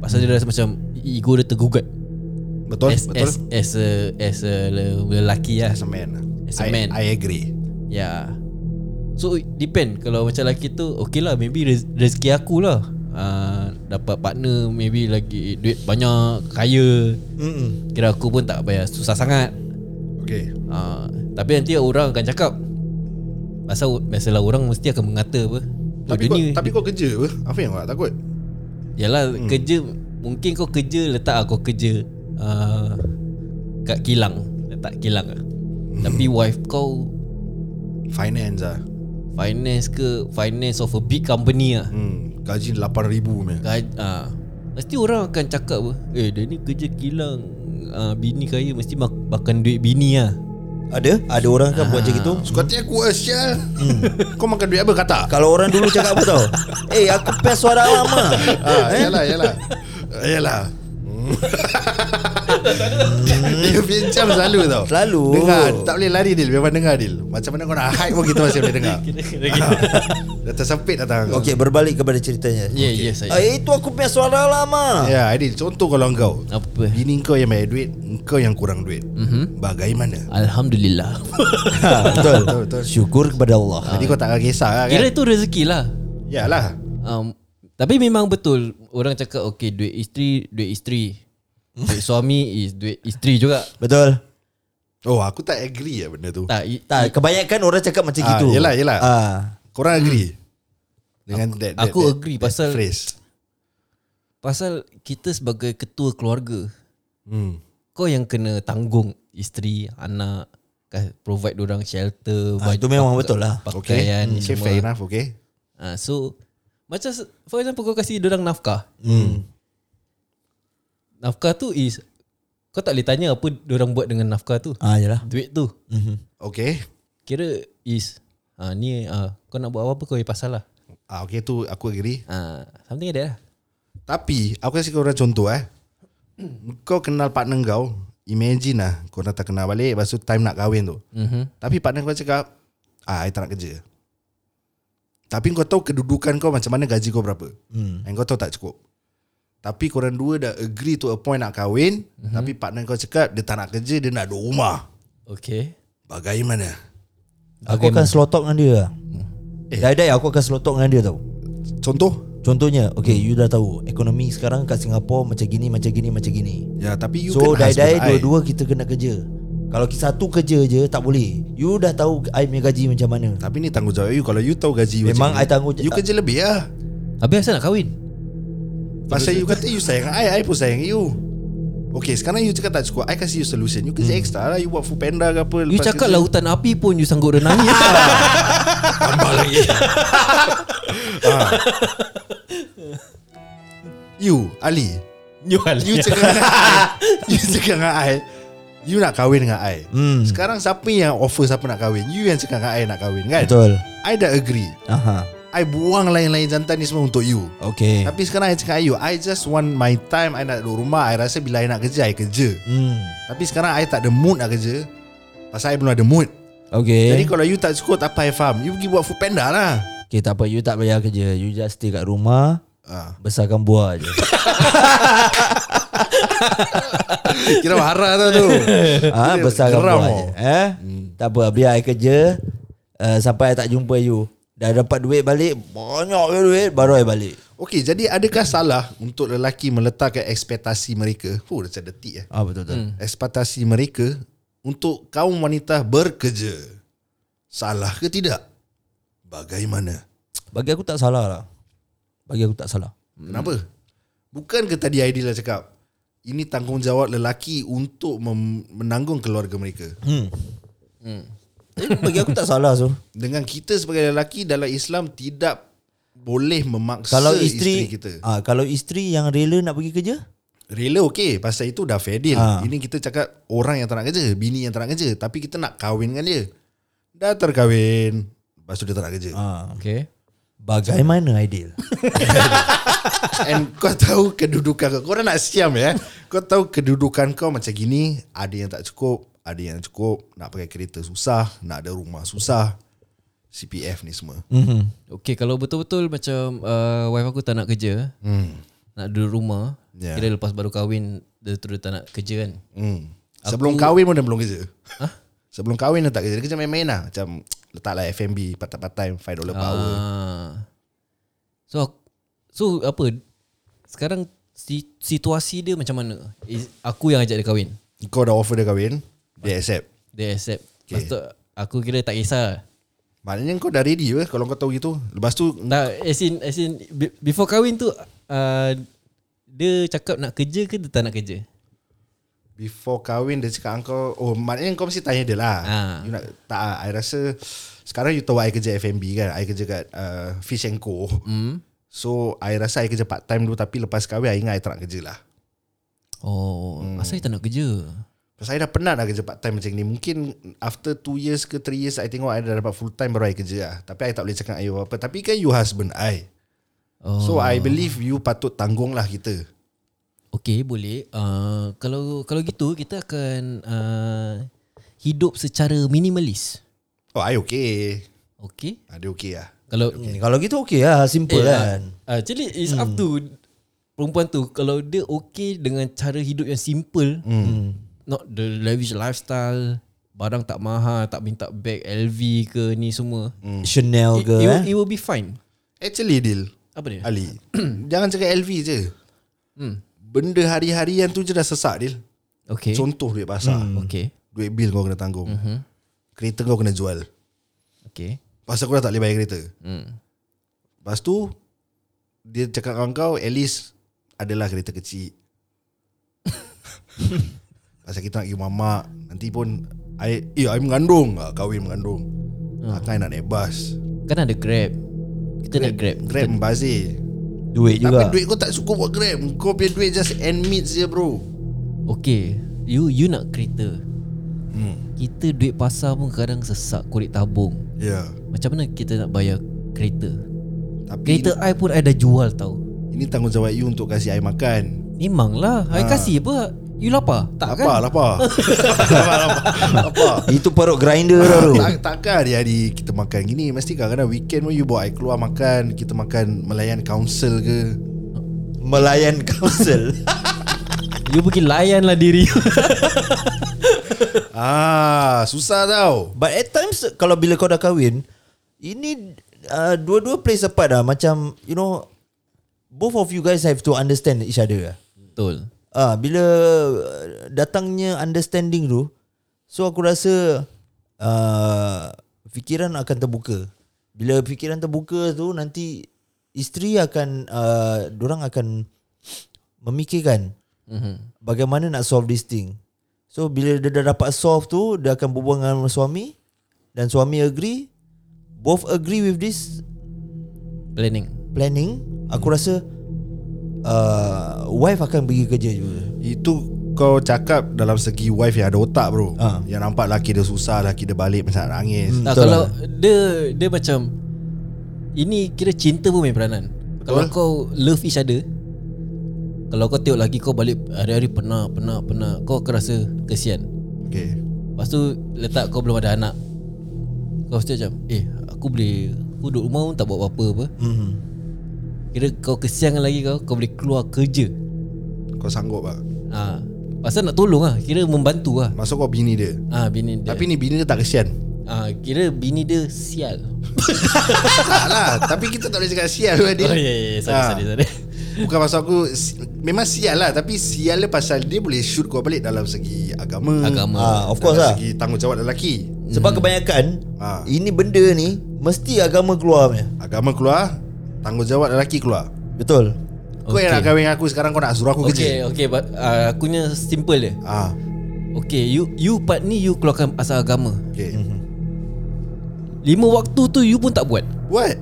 Speaker 3: Pasal dia rasa macam Ego dia tergugat
Speaker 4: Betul?
Speaker 3: as,
Speaker 4: betul?
Speaker 3: as, as a, as a le- lelaki lah
Speaker 4: As a man.
Speaker 3: As a
Speaker 4: I-
Speaker 3: man.
Speaker 4: I agree.
Speaker 3: Ya So it depend Kalau macam lelaki tu Okay lah Maybe rez- rezeki aku lah uh, Dapat partner Maybe lagi Duit banyak Kaya
Speaker 2: Mm-mm.
Speaker 3: Kira aku pun tak payah Susah sangat
Speaker 4: Okay.
Speaker 3: uh, Tapi nanti orang akan cakap Pasal biasalah orang Mesti akan mengata apa oh,
Speaker 4: Tapi
Speaker 3: dia
Speaker 4: kau,
Speaker 3: ni-
Speaker 4: tapi kau kerja apa? Apa yang kau nak takut?
Speaker 3: Yalah hmm. kerja Mungkin kau kerja Letak aku kerja uh, Kat kilang Letak kilang lah
Speaker 4: Hmm.
Speaker 3: Tapi wife kau
Speaker 4: Finance lah.
Speaker 3: Finance ke Finance of a big company lah
Speaker 4: Hmm. Gaji RM8,000 punya.
Speaker 3: Gaji, ah, Mesti orang akan cakap apa Eh dia ni kerja kilang ah, Bini kaya Mesti mak- makan duit bini lah
Speaker 2: Ada? Ada orang kan buat macam itu?
Speaker 4: Suka hati aku Asyal Kau makan duit apa kata
Speaker 2: Kalau orang dulu cakap apa tau? Eh, aku pes suara lama.
Speaker 4: ah, Yalah yalah Ah, Yalah Dia bincang selalu tau
Speaker 2: Selalu.
Speaker 4: Dengar Tak boleh lari Dil Memang dengar Dil Macam mana kau nak hide pun Kita masih boleh dengar Dah tersempit datang kau
Speaker 2: Okay, berbalik kepada ceritanya.
Speaker 3: Ya yeah, ya yeah, saya
Speaker 2: Ah, eh, itu aku punya suara lama.
Speaker 4: Ya Adil Contoh kalau engkau
Speaker 3: Apa
Speaker 4: Bini kau yang banyak duit Engkau yang kurang duit
Speaker 3: Mhm.
Speaker 4: Bagaimana
Speaker 3: Alhamdulillah
Speaker 2: Ha, betul.
Speaker 4: Betul, betul. Ah.
Speaker 2: Syukur kepada Allah.
Speaker 4: Jadi kau takkan kisah lah
Speaker 3: Ah. Kira
Speaker 4: kan
Speaker 3: itu rezeki lah
Speaker 4: Yalah
Speaker 3: um, Tapi memang betul Orang cakap Okay duit isteri Duit isteri Duit suami is Duit isteri juga
Speaker 2: Betul.
Speaker 4: Oh aku tak agree lah benda tu
Speaker 3: Tak, i,
Speaker 2: Tak, kebanyakan orang cakap macam
Speaker 4: Ah,
Speaker 2: gitu.
Speaker 4: yelah, yelah.
Speaker 2: Ah.
Speaker 4: Korang agree Dengan that, that
Speaker 3: Hmm. aku
Speaker 4: that-
Speaker 3: agree
Speaker 4: that
Speaker 3: pasal-
Speaker 4: Phrase
Speaker 3: Pasal kita sebagai ketua keluarga
Speaker 4: Hmm
Speaker 3: Kau yang kena tanggung Isteri Anak kas- Provide orang shelter
Speaker 2: Ah,
Speaker 3: baju-
Speaker 2: itu memang
Speaker 3: pak-
Speaker 2: betul lah.
Speaker 3: Pakaian
Speaker 4: Hmm,
Speaker 3: ni
Speaker 4: Okay
Speaker 3: semua
Speaker 4: fair enough okay
Speaker 3: Ah, so macam se- for example kau kasih dorang nafkah.
Speaker 2: Hmm.
Speaker 3: Nafkah tu is kau tak boleh tanya apa dorang buat dengan nafkah tu.
Speaker 2: Ah, yelah.
Speaker 3: Duit tu.
Speaker 2: Mhm.
Speaker 4: Okay
Speaker 3: Kira is ah ni ah kau nak buat apa-apa kau punya pasal lah.
Speaker 4: Ah, okay tu aku agree
Speaker 3: Ah something ada lah.
Speaker 4: Tapi Aku kasi korang contoh eh Hmm, Kau kenal partner kau Imagine lah Korang tak kenal balik Lepas tu time nak kahwin tu
Speaker 3: Mhm.
Speaker 4: Tapi partner kau cakap ah, I tak nak kerja. Tapi kau tahu kedudukan kau macam mana gaji kau berapa. Hmm. And kau tahu tak cukup. Tapi korang dua dah agree to a point nak kahwin. Mm-hmm. Tapi partner kau cakap dia tak nak kerja, dia nak ada rumah.
Speaker 3: Okay
Speaker 4: Bagaimana?
Speaker 2: Aku akan slow talk dengan dia lah.
Speaker 4: Eh.
Speaker 2: Dai-dai aku akan slow talk dengan dia tau
Speaker 4: Contoh?
Speaker 2: Contohnya Okay you dah tahu Ekonomi sekarang kat Singapura Macam gini Macam gini Macam gini
Speaker 4: Ya, tapi you
Speaker 2: So
Speaker 4: kan husband
Speaker 2: dai-dai
Speaker 4: I.
Speaker 2: dua-dua kita kena kerja Kalau ki- satu kerja je Tak boleh You dah tahu I punya gaji macam mana
Speaker 4: Tapi ni tanggungjawab you Kalau you tahu gaji you
Speaker 2: Memang
Speaker 4: macam
Speaker 2: I tanggungjawab-
Speaker 4: You kerja lebih lah
Speaker 3: Habis asal nak kahwin
Speaker 4: Pasal you kata you sayang I I pun sayang you Okay sekarang you cakap tak cukup I kasih you solution You
Speaker 2: Hmm.
Speaker 4: kerja extra lah You buat food panda ke apa
Speaker 3: You
Speaker 4: lepas
Speaker 3: cakap
Speaker 4: kerja.
Speaker 2: lah.
Speaker 3: lautan api pun You sanggup renangi lah.
Speaker 4: You Ali
Speaker 3: You alah.
Speaker 4: You cakap dengan I You cakap dengan I You nak kahwin dengan I
Speaker 2: Hmm.
Speaker 4: Sekarang siapa yang offer Siapa nak kahwin You yang cakap dengan I nak kahwin kan
Speaker 2: Betul
Speaker 4: I dah agree
Speaker 2: Aha.
Speaker 4: I buang lain-lain jantan ni semua untuk you
Speaker 2: Okay
Speaker 4: Tapi sekarang I cakap dengan you I just want my time I nak duduk rumah I rasa bila I nak kerja I kerja
Speaker 2: hmm.
Speaker 4: Tapi sekarang I tak ada mood nak kerja Pasal I belum ada mood
Speaker 2: Okay
Speaker 4: Jadi kalau you tak cukup Tak apa I faham You pergi buat food panda lah
Speaker 2: Okay tak apa You tak payah kerja You just stay kat rumah
Speaker 4: ha.
Speaker 2: Besarkan buah je
Speaker 4: Eh, Kira marah tau tu
Speaker 2: ha, Besarkan
Speaker 4: Geram
Speaker 2: buah
Speaker 4: tau.
Speaker 2: je eh? Tak apa Biar I kerja uh, Sampai I tak jumpa you Dah dapat duit balik Banyak je duit Baru I balik
Speaker 4: Okay jadi adakah salah Untuk lelaki meletakkan ekspektasi mereka Oh dah macam detik eh
Speaker 2: Ah Betul-betul hmm.
Speaker 4: Ekspektasi mereka Untuk kaum wanita bekerja Salah ke tidak? Bagaimana?
Speaker 2: Bagi aku tak salah lah Bagi aku tak salah
Speaker 4: Kenapa? Bukan ke tadi Aidil dah cakap Ini tanggungjawab lelaki Untuk mem- menanggung keluarga mereka
Speaker 2: Eh, Bagi aku tak salah so
Speaker 4: Dengan kita sebagai lelaki dalam Islam tidak boleh memaksa
Speaker 2: Kalau
Speaker 4: isteri,
Speaker 2: isteri,
Speaker 4: kita.
Speaker 2: ah, Kalau isteri yang rela nak pergi kerja
Speaker 4: Rela okey pasal itu dah fair deal.
Speaker 2: Ah.
Speaker 4: Ini kita cakap orang yang tak nak kerja, bini yang tak nak kerja, tapi kita nak kahwin dengan dia. Dah terkahwin, lepas tu dia tak nak kerja.
Speaker 2: ah,
Speaker 3: Okay
Speaker 2: Bagaimana ideal
Speaker 4: And kau tahu kedudukan kau. Kau nak siam ya. Kau tahu kedudukan kau macam gini, ada yang tak cukup, ada yang cukup, nak pakai kereta susah, nak ada rumah susah. CPF ni semua.
Speaker 2: mm-hmm.
Speaker 3: Okay kalau betul-betul macam uh, Wife aku tak nak kerja
Speaker 4: Hmm.
Speaker 3: Nak duduk rumah
Speaker 4: Yeah.
Speaker 3: yeah. Kira lepas baru kahwin Dia terus tak nak kerja kan
Speaker 4: Hmm. Sebelum kahwin pun dia belum kerja. Hah? Sebelum kahwin dia tak kerja. Dia kerja main-main lah. Macam letaklah F&B part-part time 5 dollar per hour.
Speaker 3: Ah. So ak- so apa sekarang si, situasi dia macam mana? Is, aku yang ajak dia kahwin.
Speaker 4: Kau dah offer dia kahwin, dia accept.
Speaker 3: Dia accept.
Speaker 4: Okay.
Speaker 3: Okay. Lepas tu aku kira tak kisah.
Speaker 4: Maknanya kau dah ready ke kalau kau tahu gitu. Lepas tu
Speaker 3: Tak as in, as in be- before kahwin tu uh, dia cakap nak kerja ke dia tak nak kerja?
Speaker 4: before kahwin dia cakap kau oh maknanya kau mesti tanya dia lah.
Speaker 3: Ah.
Speaker 4: You nak tak ah, I rasa sekarang you tahu I kerja F&B kan. I kerja kat uh, Fish and Co.
Speaker 3: Hmm.
Speaker 4: So I rasa I kerja part time dulu tapi lepas kahwin I ingat I tak nak kerja lah.
Speaker 3: Oh, hmm. asal dia tak nak kerja?
Speaker 4: Pasal I dah penat dah kerja part time macam ni Mungkin after 2 years ke 3 years I tengok I dah dapat full time baru I kerja lah Tapi I tak boleh cakap I apa Tapi kan you husband I
Speaker 3: Oh.
Speaker 4: So I believe you patut tanggung lah kita
Speaker 3: Okay boleh uh, Kalau kalau gitu Kita akan uh, Hidup secara minimalis
Speaker 4: Oh I okay
Speaker 3: Okay
Speaker 4: ah, Dia okay lah
Speaker 3: Kalau
Speaker 2: Kalau gitu okey lah Simple
Speaker 3: Eh,
Speaker 2: kan
Speaker 3: ah, Actually it's up to Perempuan tu Kalau dia okay Dengan cara hidup yang simple hmm. Not the lavish lifestyle Barang tak mahal Tak minta bag LV ke Ni semua
Speaker 2: Chanel
Speaker 3: it,
Speaker 2: ke Hmm.
Speaker 3: it,
Speaker 2: eh?
Speaker 3: will, it will be fine
Speaker 4: Actually Dil
Speaker 3: Apa dia?
Speaker 4: Ali Jangan cakap LV je hmm. Benda hari-harian tu je dah sesak Dil
Speaker 3: Okay
Speaker 4: Contoh duit pasar hmm.
Speaker 3: Okay
Speaker 4: Duit bil kau kena tanggung mm-hmm. Kereta kau kena jual
Speaker 3: Okay
Speaker 4: Pasal kau dah tak boleh bayar kereta
Speaker 3: hmm.
Speaker 4: Lepas tu Dia cakap dengan kau At least Adalah kereta kecil Pasal kita nak pergi mamak Nanti pun I, Eh I mengandung ah, Kahwin mengandung hmm. Akan nak naik bas
Speaker 3: Kan ada grab Kita grab. nak grab
Speaker 4: Grab membazir
Speaker 2: Duit
Speaker 4: Tapi
Speaker 2: juga
Speaker 4: duit kau tak cukup buat grab Kau punya duit just end meets je bro
Speaker 3: Okay You you nak kereta Kita duit pasar pun kadang sesak Kulit tabung
Speaker 4: Ya yeah.
Speaker 3: Macam mana kita nak bayar kereta
Speaker 4: Tapi
Speaker 3: Kereta I pun I dah jual tau
Speaker 4: ini tanggungjawab you untuk kasih I makan
Speaker 3: Memanglah I kasih apa You lapar?
Speaker 4: Lapar
Speaker 3: Tak kan?
Speaker 4: lapar Lapar lapar Lapar
Speaker 2: Itu perut grinder lah tu.
Speaker 4: tak, Takkan hari-hari kita makan gini Mesti kadang-kadang weekend pun You bawa I keluar makan Kita makan Melayan council ke
Speaker 2: Melayan Council.
Speaker 3: You pergi layan lah diri you.
Speaker 4: Ah Susah tau
Speaker 2: But at times kalau bila kau dah kahwin, ini uh, dua-dua plays a part lah. Macam you know, both of you guys have to understand each other. Lah.
Speaker 3: Betul
Speaker 2: Ah, bila uh, datangnya understanding tu, so aku rasa uh, fikiran akan terbuka. Bila fikiran terbuka tu nanti isteri akan uh, orang akan memikirkan mm-hmm. bagaimana nak solve this thing. So bila dia dah dapat solve tu, dia akan berbual dengan suami dan suami agree, both agree with this
Speaker 3: Planning
Speaker 2: planning, aku rasa uh, wife akan pergi kerja juga.
Speaker 4: Itu kau cakap dalam segi wife yang ada otak bro ha.
Speaker 3: Ah.
Speaker 4: Yang nampak laki dia susah Laki dia balik macam nak nangis
Speaker 3: nah,
Speaker 2: Betul
Speaker 3: Kalau dia Dia macam Ini kira cinta pun main peranan Kalau kau love each other Kalau kau tengok lagi kau balik Hari-hari penat Penat Penat Kau akan rasa Kesian
Speaker 4: Okay
Speaker 3: Lepas tu Letak kau belum ada anak Kau mesti macam Eh aku boleh Aku duduk rumah pun tak buat apa-apa apa.
Speaker 4: Mhm.
Speaker 2: Mm-hmm.
Speaker 3: Kira kau kesian lagi kau Kau boleh keluar kerja
Speaker 4: Kau sanggup tak
Speaker 3: ha. Pasal nak tolong lah Kira membantu lah
Speaker 4: Masuk kau bini dia
Speaker 3: Ah ha, bini dia
Speaker 4: Tapi ni bini dia tak kesian
Speaker 3: Ah, kira bini dia sial.
Speaker 4: Tak lah Tapi kita tak boleh cakap sial lah dia
Speaker 3: Oh ya ya, ya. sorry
Speaker 4: Ah.
Speaker 3: sorry sorry.
Speaker 4: Bukan pasal aku si- Memang sial lah Tapi sial dia pasal Dia boleh shoot kau balik Dalam segi agama
Speaker 3: Agama.
Speaker 2: Ah, of course
Speaker 4: dalam
Speaker 2: lah.
Speaker 4: segi tanggungjawab lelaki
Speaker 2: Sebab kebanyakan
Speaker 4: Ah.
Speaker 2: ini benda ni mesti agama keluar punya.
Speaker 4: Agama keluar Tanggungjawab lelaki keluar
Speaker 2: Betul.
Speaker 4: Kau yang
Speaker 3: Okay.
Speaker 4: nak kahwin dengan aku Sekarang kau nak suruh aku kerja
Speaker 3: Okay okay but, uh, aku punya simple dia.
Speaker 4: ah,
Speaker 3: Okay you you part ni you keluarkan asal agama.
Speaker 4: Okay
Speaker 2: Hmm.
Speaker 3: Lima waktu tu you pun tak buat.
Speaker 4: Buat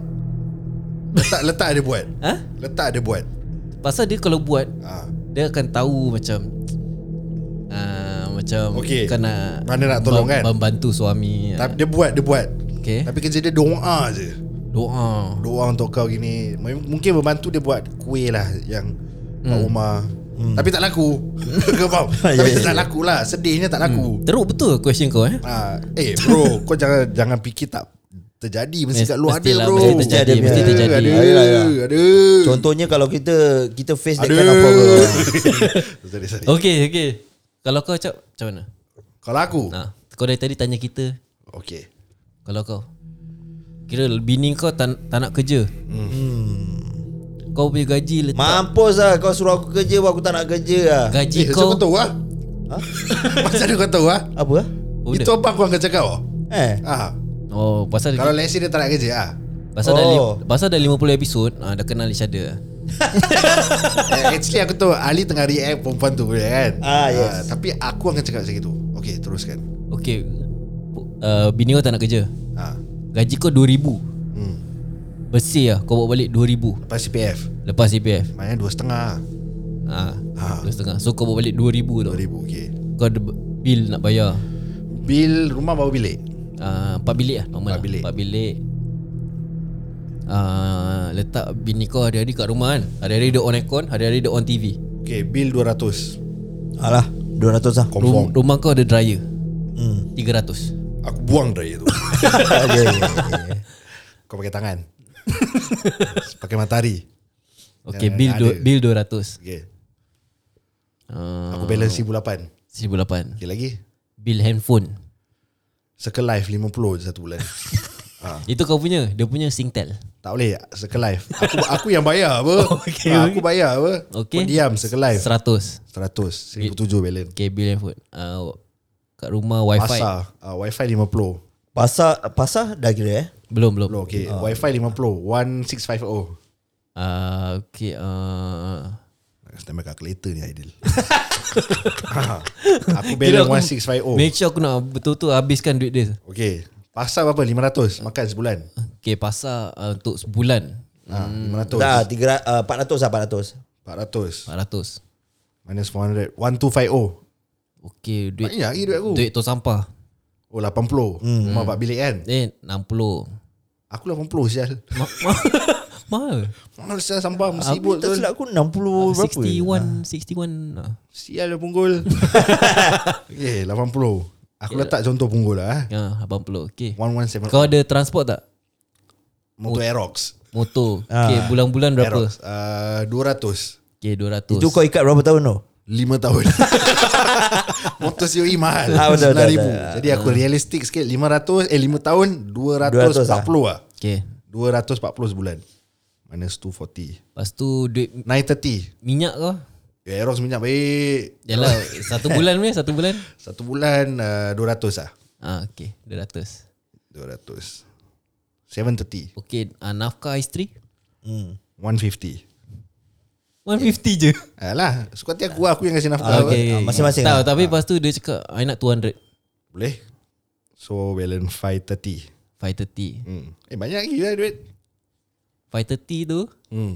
Speaker 4: Letak letak dia buat
Speaker 3: Ha?
Speaker 4: Letak dia buat
Speaker 3: Pasal dia kalau buat
Speaker 4: ah.
Speaker 3: dia akan tahu macam uh, macam
Speaker 4: Okay.
Speaker 3: kau nak
Speaker 4: Mana nak tolong, kan?
Speaker 2: Ya.
Speaker 3: Membantu suami.
Speaker 4: Tapi dia buat Dia buat
Speaker 3: Okay.
Speaker 4: Tapi kerja dia doa je
Speaker 3: Doa.
Speaker 4: Doa untuk kau gini M- Mungkin membantu dia buat Kuih lah Yang Mak Umar Tapi tak laku Kau faham
Speaker 2: Hmm.
Speaker 4: Tapi
Speaker 2: Ya, ya,
Speaker 4: tak laku lah Sedihnya tak laku
Speaker 3: Teruk betul question kau eh.
Speaker 4: Ah, Eh bro Kau jangan jangan fikir tak Terjadi Mesti
Speaker 3: Mes-
Speaker 4: kat luar ada
Speaker 3: mestilah,
Speaker 4: bro
Speaker 3: mesti terjadi,
Speaker 2: mesti
Speaker 4: Ada, Ada
Speaker 3: terjadi.
Speaker 4: lah, ya.
Speaker 2: Ayolah, ayolah.
Speaker 4: Ada
Speaker 2: Contohnya kalau kita kita face that
Speaker 4: Ada
Speaker 2: kind of problem.
Speaker 4: Sorry sorry
Speaker 3: Okay okay. Kalau kau cakap macam mana?
Speaker 4: Kalau aku
Speaker 3: Nah, kau dari tadi tanya kita
Speaker 4: Okay
Speaker 3: Kalau kau Kira bini kau tak, tak nak kerja hmm. Kau punya gaji letak
Speaker 2: Mampus lah kau suruh aku kerja buat aku tak nak kerja lah.
Speaker 3: Gaji
Speaker 4: Eh macam
Speaker 3: kau
Speaker 4: kau tahu lah Macam mana kau tahu lah
Speaker 2: Apa?
Speaker 3: Oh,
Speaker 4: Itu apa aku akan cakap oh.
Speaker 2: Eh.
Speaker 4: ah.
Speaker 3: Oh pasal
Speaker 4: Kalau let's say dia tak nak kerja ah.
Speaker 3: Pasal, dah,
Speaker 2: Oh.
Speaker 3: li, pasal dah 50 episod ah, Dah kenal each other
Speaker 4: Eh, Actually aku tahu Ali tengah react perempuan tu kan
Speaker 2: Ah, yes.
Speaker 4: Tapi aku akan cakap macam itu Okay teruskan
Speaker 3: Okay uh, Bini kau tak nak kerja
Speaker 4: ah.
Speaker 3: Gaji kau 2000 hmm. Bersih lah Kau bawa balik 2000
Speaker 4: Lepas CPF
Speaker 3: Lepas CPF
Speaker 4: Maknanya dua setengah
Speaker 3: ah,
Speaker 4: Ah.
Speaker 3: Dua setengah So kau bawa balik 2000 tu
Speaker 4: Dua ribu okay
Speaker 3: Kau ada b- bil nak bayar
Speaker 4: Bil rumah bawa bilik
Speaker 3: uh, Empat bilik lah normal
Speaker 4: Empat
Speaker 3: lah.
Speaker 4: bilik.
Speaker 3: Empat bilik uh, Letak bini kau hari-hari kat rumah kan Hari-hari dia on aircon Hari-hari dia on TV
Speaker 4: Okay bil 200
Speaker 2: Alah, 200 lah.
Speaker 3: Rum-
Speaker 4: Confirm
Speaker 3: Rumah kau ada dryer
Speaker 2: Hmm.
Speaker 3: 300
Speaker 4: Aku buang dari itu
Speaker 2: Ya, ya, ya.
Speaker 4: Kau pakai tangan Pakai matahari
Speaker 3: Okay
Speaker 4: Yang
Speaker 3: bil,
Speaker 4: Ya, ada.
Speaker 3: du- bil 200
Speaker 4: Okay
Speaker 3: uh,
Speaker 4: Aku balance 1008
Speaker 3: 1008
Speaker 4: Okay lagi
Speaker 3: Bil handphone
Speaker 4: Circle life 50 je satu bulan
Speaker 3: Itu kau punya Dia punya Singtel
Speaker 4: Tak boleh Circle life Aku, aku yang bayar apa
Speaker 3: Okay,
Speaker 4: ah, Aku bayar apa
Speaker 3: Okay.
Speaker 4: Kau diam circle life
Speaker 3: 100
Speaker 4: 100 1007 balance
Speaker 3: Okay bil handphone uh, Kat rumah wifi
Speaker 4: Pasar uh, Wi-Fi 50
Speaker 2: Pasar pasar dah kira eh.
Speaker 3: Belum belum
Speaker 4: Loh, okay. Wi-Fi 50 1650
Speaker 3: uh, Okay uh,
Speaker 4: Tambah calculator ni Aidil Ah, Aku balance
Speaker 3: Kira aku
Speaker 4: 1650
Speaker 3: Make sure aku nak betul-betul habiskan duit dia
Speaker 4: Okay Pasar berapa 500 Makan sebulan
Speaker 3: Okay pasar uh, untuk sebulan
Speaker 4: ha,
Speaker 2: Dah 300 uh,
Speaker 4: 500
Speaker 2: 400 lah 400.
Speaker 4: 400
Speaker 3: 400
Speaker 4: Minus 400 1250
Speaker 3: Okay duit
Speaker 4: Banyak lagi lah, duit aku
Speaker 3: Duit tu sampah
Speaker 4: Oh
Speaker 2: Hmm.
Speaker 4: 80 Rumah 4 bilik kan
Speaker 3: Eh 60
Speaker 4: Aku 80 sial
Speaker 3: Ma- ma- Mahal
Speaker 4: Mahal saya sambal
Speaker 2: Aku
Speaker 4: Sibuk
Speaker 2: tak
Speaker 4: tu
Speaker 2: silap aku 60 Oh,
Speaker 3: Ah,
Speaker 2: berapa
Speaker 3: 61 61 ah.
Speaker 4: Sial dia punggol Eh 80 Aku letak contoh punggol lah eh.
Speaker 3: Ya 80 Okay
Speaker 4: 117
Speaker 3: Kau ada transport tak?
Speaker 4: Motor Aerox
Speaker 3: Motor Okay bulan-bulan berapa?
Speaker 4: Aerox uh, 200
Speaker 3: Okay 200
Speaker 2: Itu kau ikat berapa tahun tu
Speaker 4: Lima tahun Motor COE mahal
Speaker 2: Ah, betul, betul,
Speaker 4: RM9,000.
Speaker 2: betul. Hmm.
Speaker 4: Jadi aku realistik sikit 500 Eh 5 tahun
Speaker 2: 200
Speaker 4: 240 lah
Speaker 3: Okay
Speaker 4: 240 sebulan Minus 240
Speaker 3: Lepas tu duit
Speaker 4: 930
Speaker 3: minyak kau
Speaker 4: Ya Eros minyak baik
Speaker 3: Yalah Satu bulan punya Satu bulan
Speaker 4: Satu bulan uh, 200 lah
Speaker 3: Ah, Okay 200
Speaker 4: 200 730
Speaker 3: Okay uh, Nafkah isteri
Speaker 2: hmm.
Speaker 4: 150
Speaker 3: 150 je
Speaker 4: Alah Suka hati aku lah, Aku yang kasih nafkah
Speaker 3: ah,
Speaker 4: apa.
Speaker 3: okay.
Speaker 2: Ah, masing-masing
Speaker 3: Tak
Speaker 2: lah.
Speaker 3: tapi lepas tu dia cakap I nak 200
Speaker 4: Boleh So balance 530
Speaker 3: 530
Speaker 4: hmm. Eh banyak lagi lah duit
Speaker 3: 530 tu
Speaker 4: hmm.